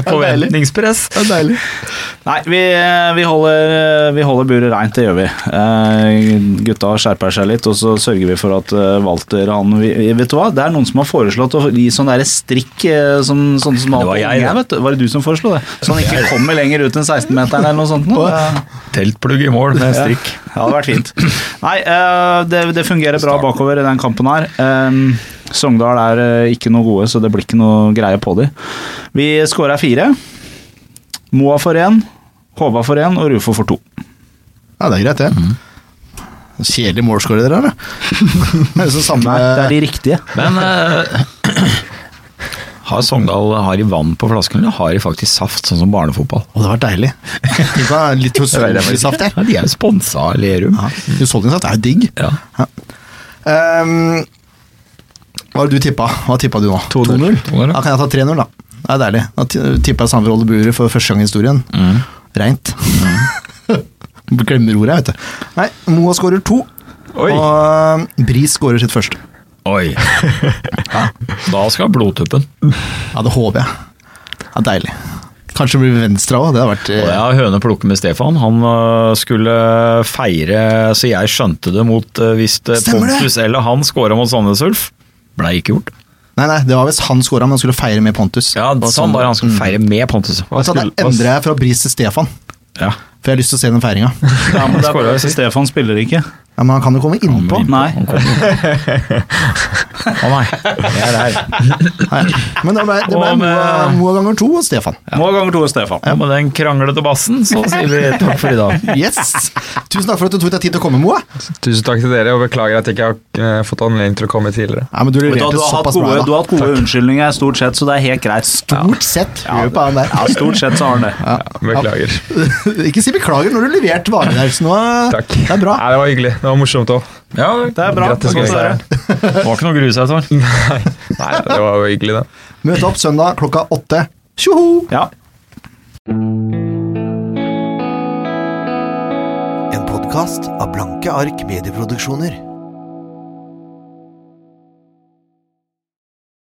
[SPEAKER 4] forventningspress.
[SPEAKER 1] det er deilig.
[SPEAKER 2] Nei, vi, eh, vi, holder, eh, vi holder buret reint, det gjør vi. Eh, gutta skjerper seg litt, og så sørger vi for at eh, Walter han vi, Vet du hva, det er noen som har foreslått å gi sånn derre strikk eh, som, sånn som
[SPEAKER 4] Det var jeg, det.
[SPEAKER 2] vet du. Var det du som foreslo det? Så han ikke kommer lenger ut enn 16-meteren eller noe sånt? Nå.
[SPEAKER 4] Teltplugg i mål med strikk.
[SPEAKER 2] Ja, det hadde vært fint. Nei, eh, det, det fungerer bra bakover i den kampen her. Eh, Sogndal er eh, ikke noe gode, så det blir ikke noe greie på dem. Vi skåra fire. Moa for én, Håva for én og Rufo for to.
[SPEAKER 1] Ja, det er greit, det. Kjedelig målskårer dere er, da. Det er jo så samme
[SPEAKER 2] Mm. Nei, det er de riktige.
[SPEAKER 4] Men eh, har Sogndal har de vann på flasken, eller har de faktisk saft, sånn som barnefotball?
[SPEAKER 1] Å, det var deilig. Tenk på litt husholdningssaft der.
[SPEAKER 4] Ja, de er jo sponsa av Lerum.
[SPEAKER 1] Ja, husholdningssaft er jo digg.
[SPEAKER 4] Ja.
[SPEAKER 1] Ehm, hva har du tippa? Hva tippa du nå?
[SPEAKER 4] 2-0. 2-0, ja.
[SPEAKER 1] Da kan jeg ta 3-0, da. Det er deilig. Da ti- tippa jeg Sandefjord holder buret for første gang i historien.
[SPEAKER 4] Mm.
[SPEAKER 1] Reint.
[SPEAKER 2] Mm.
[SPEAKER 1] Glemmer ordet, jeg, vet du. Nei, Moa skårer to.
[SPEAKER 3] Oi.
[SPEAKER 1] Og eh, Bris skårer sitt første.
[SPEAKER 4] Oi. Da skal blodtuppen.
[SPEAKER 1] Ja, det håper jeg. Ja, deilig. Kanskje det blir venstre òg. Det hadde vært
[SPEAKER 4] Og
[SPEAKER 1] eh,
[SPEAKER 4] jeg har høne plukke med Stefan. Han øh, skulle feire, så jeg skjønte det mot øh, hvis øh,
[SPEAKER 1] Stemmer det!
[SPEAKER 4] Pontus eller han scora mot Sandnes Ulf. Blei ikke gjort.
[SPEAKER 1] eh, Nei, nei, det var hvis han scora, men han skulle feire med Pontus. Mm.
[SPEAKER 4] Ja,
[SPEAKER 1] Og
[SPEAKER 4] sånn var det, han skulle feire med Pontus.
[SPEAKER 1] Så da endrer jeg fra Bris til Stefan,
[SPEAKER 4] Ja.
[SPEAKER 1] for jeg har lyst til å se den feiringa.
[SPEAKER 2] Ja, men det er bare, Stefan spiller ikke.
[SPEAKER 1] Ja, men han kan jo komme innpå.
[SPEAKER 2] Nei.
[SPEAKER 4] Å nei, jeg er her.
[SPEAKER 1] Nei. Men det ble, det ble
[SPEAKER 4] Og
[SPEAKER 1] Moa,
[SPEAKER 4] med-
[SPEAKER 1] Moa ganger to og Stefan.
[SPEAKER 2] Moa ganger to er Stefan.
[SPEAKER 4] Og med den kranglete bassen, så sier vi takk for i dag.
[SPEAKER 1] Yes! Tusen takk for at du tok deg tid til å komme, Moa.
[SPEAKER 3] Tusen takk til dere, og beklager at jeg ikke har eh, fått anledning til å komme tidligere.
[SPEAKER 1] Nei, men du
[SPEAKER 2] Du har,
[SPEAKER 1] leverte
[SPEAKER 2] du har hatt
[SPEAKER 1] såpass
[SPEAKER 2] gode,
[SPEAKER 1] bra.
[SPEAKER 2] du
[SPEAKER 1] da.
[SPEAKER 2] har hatt gode unnskyldninger stort sett, så det er helt greit.
[SPEAKER 1] Stort sett. Hør på han
[SPEAKER 2] Ja,
[SPEAKER 1] der.
[SPEAKER 2] stort sett så har han det.
[SPEAKER 3] Beklager.
[SPEAKER 1] Ikke si beklager når du leverte varene der. Så nå,
[SPEAKER 3] Takk.
[SPEAKER 1] det er bra.
[SPEAKER 3] Nei, det var hyggelig. Det var morsomt òg.
[SPEAKER 4] Ja,
[SPEAKER 2] Det er bra.
[SPEAKER 3] Grattis
[SPEAKER 2] det er godt
[SPEAKER 3] med
[SPEAKER 2] å høre.
[SPEAKER 3] seieren.
[SPEAKER 4] Det var ikke noe å grue seg til.
[SPEAKER 3] Nei, det var jo hyggelig, det.
[SPEAKER 1] Møte opp søndag klokka åtte. Tjoho!
[SPEAKER 2] Ja.
[SPEAKER 7] En podkast av Blanke ark medieproduksjoner.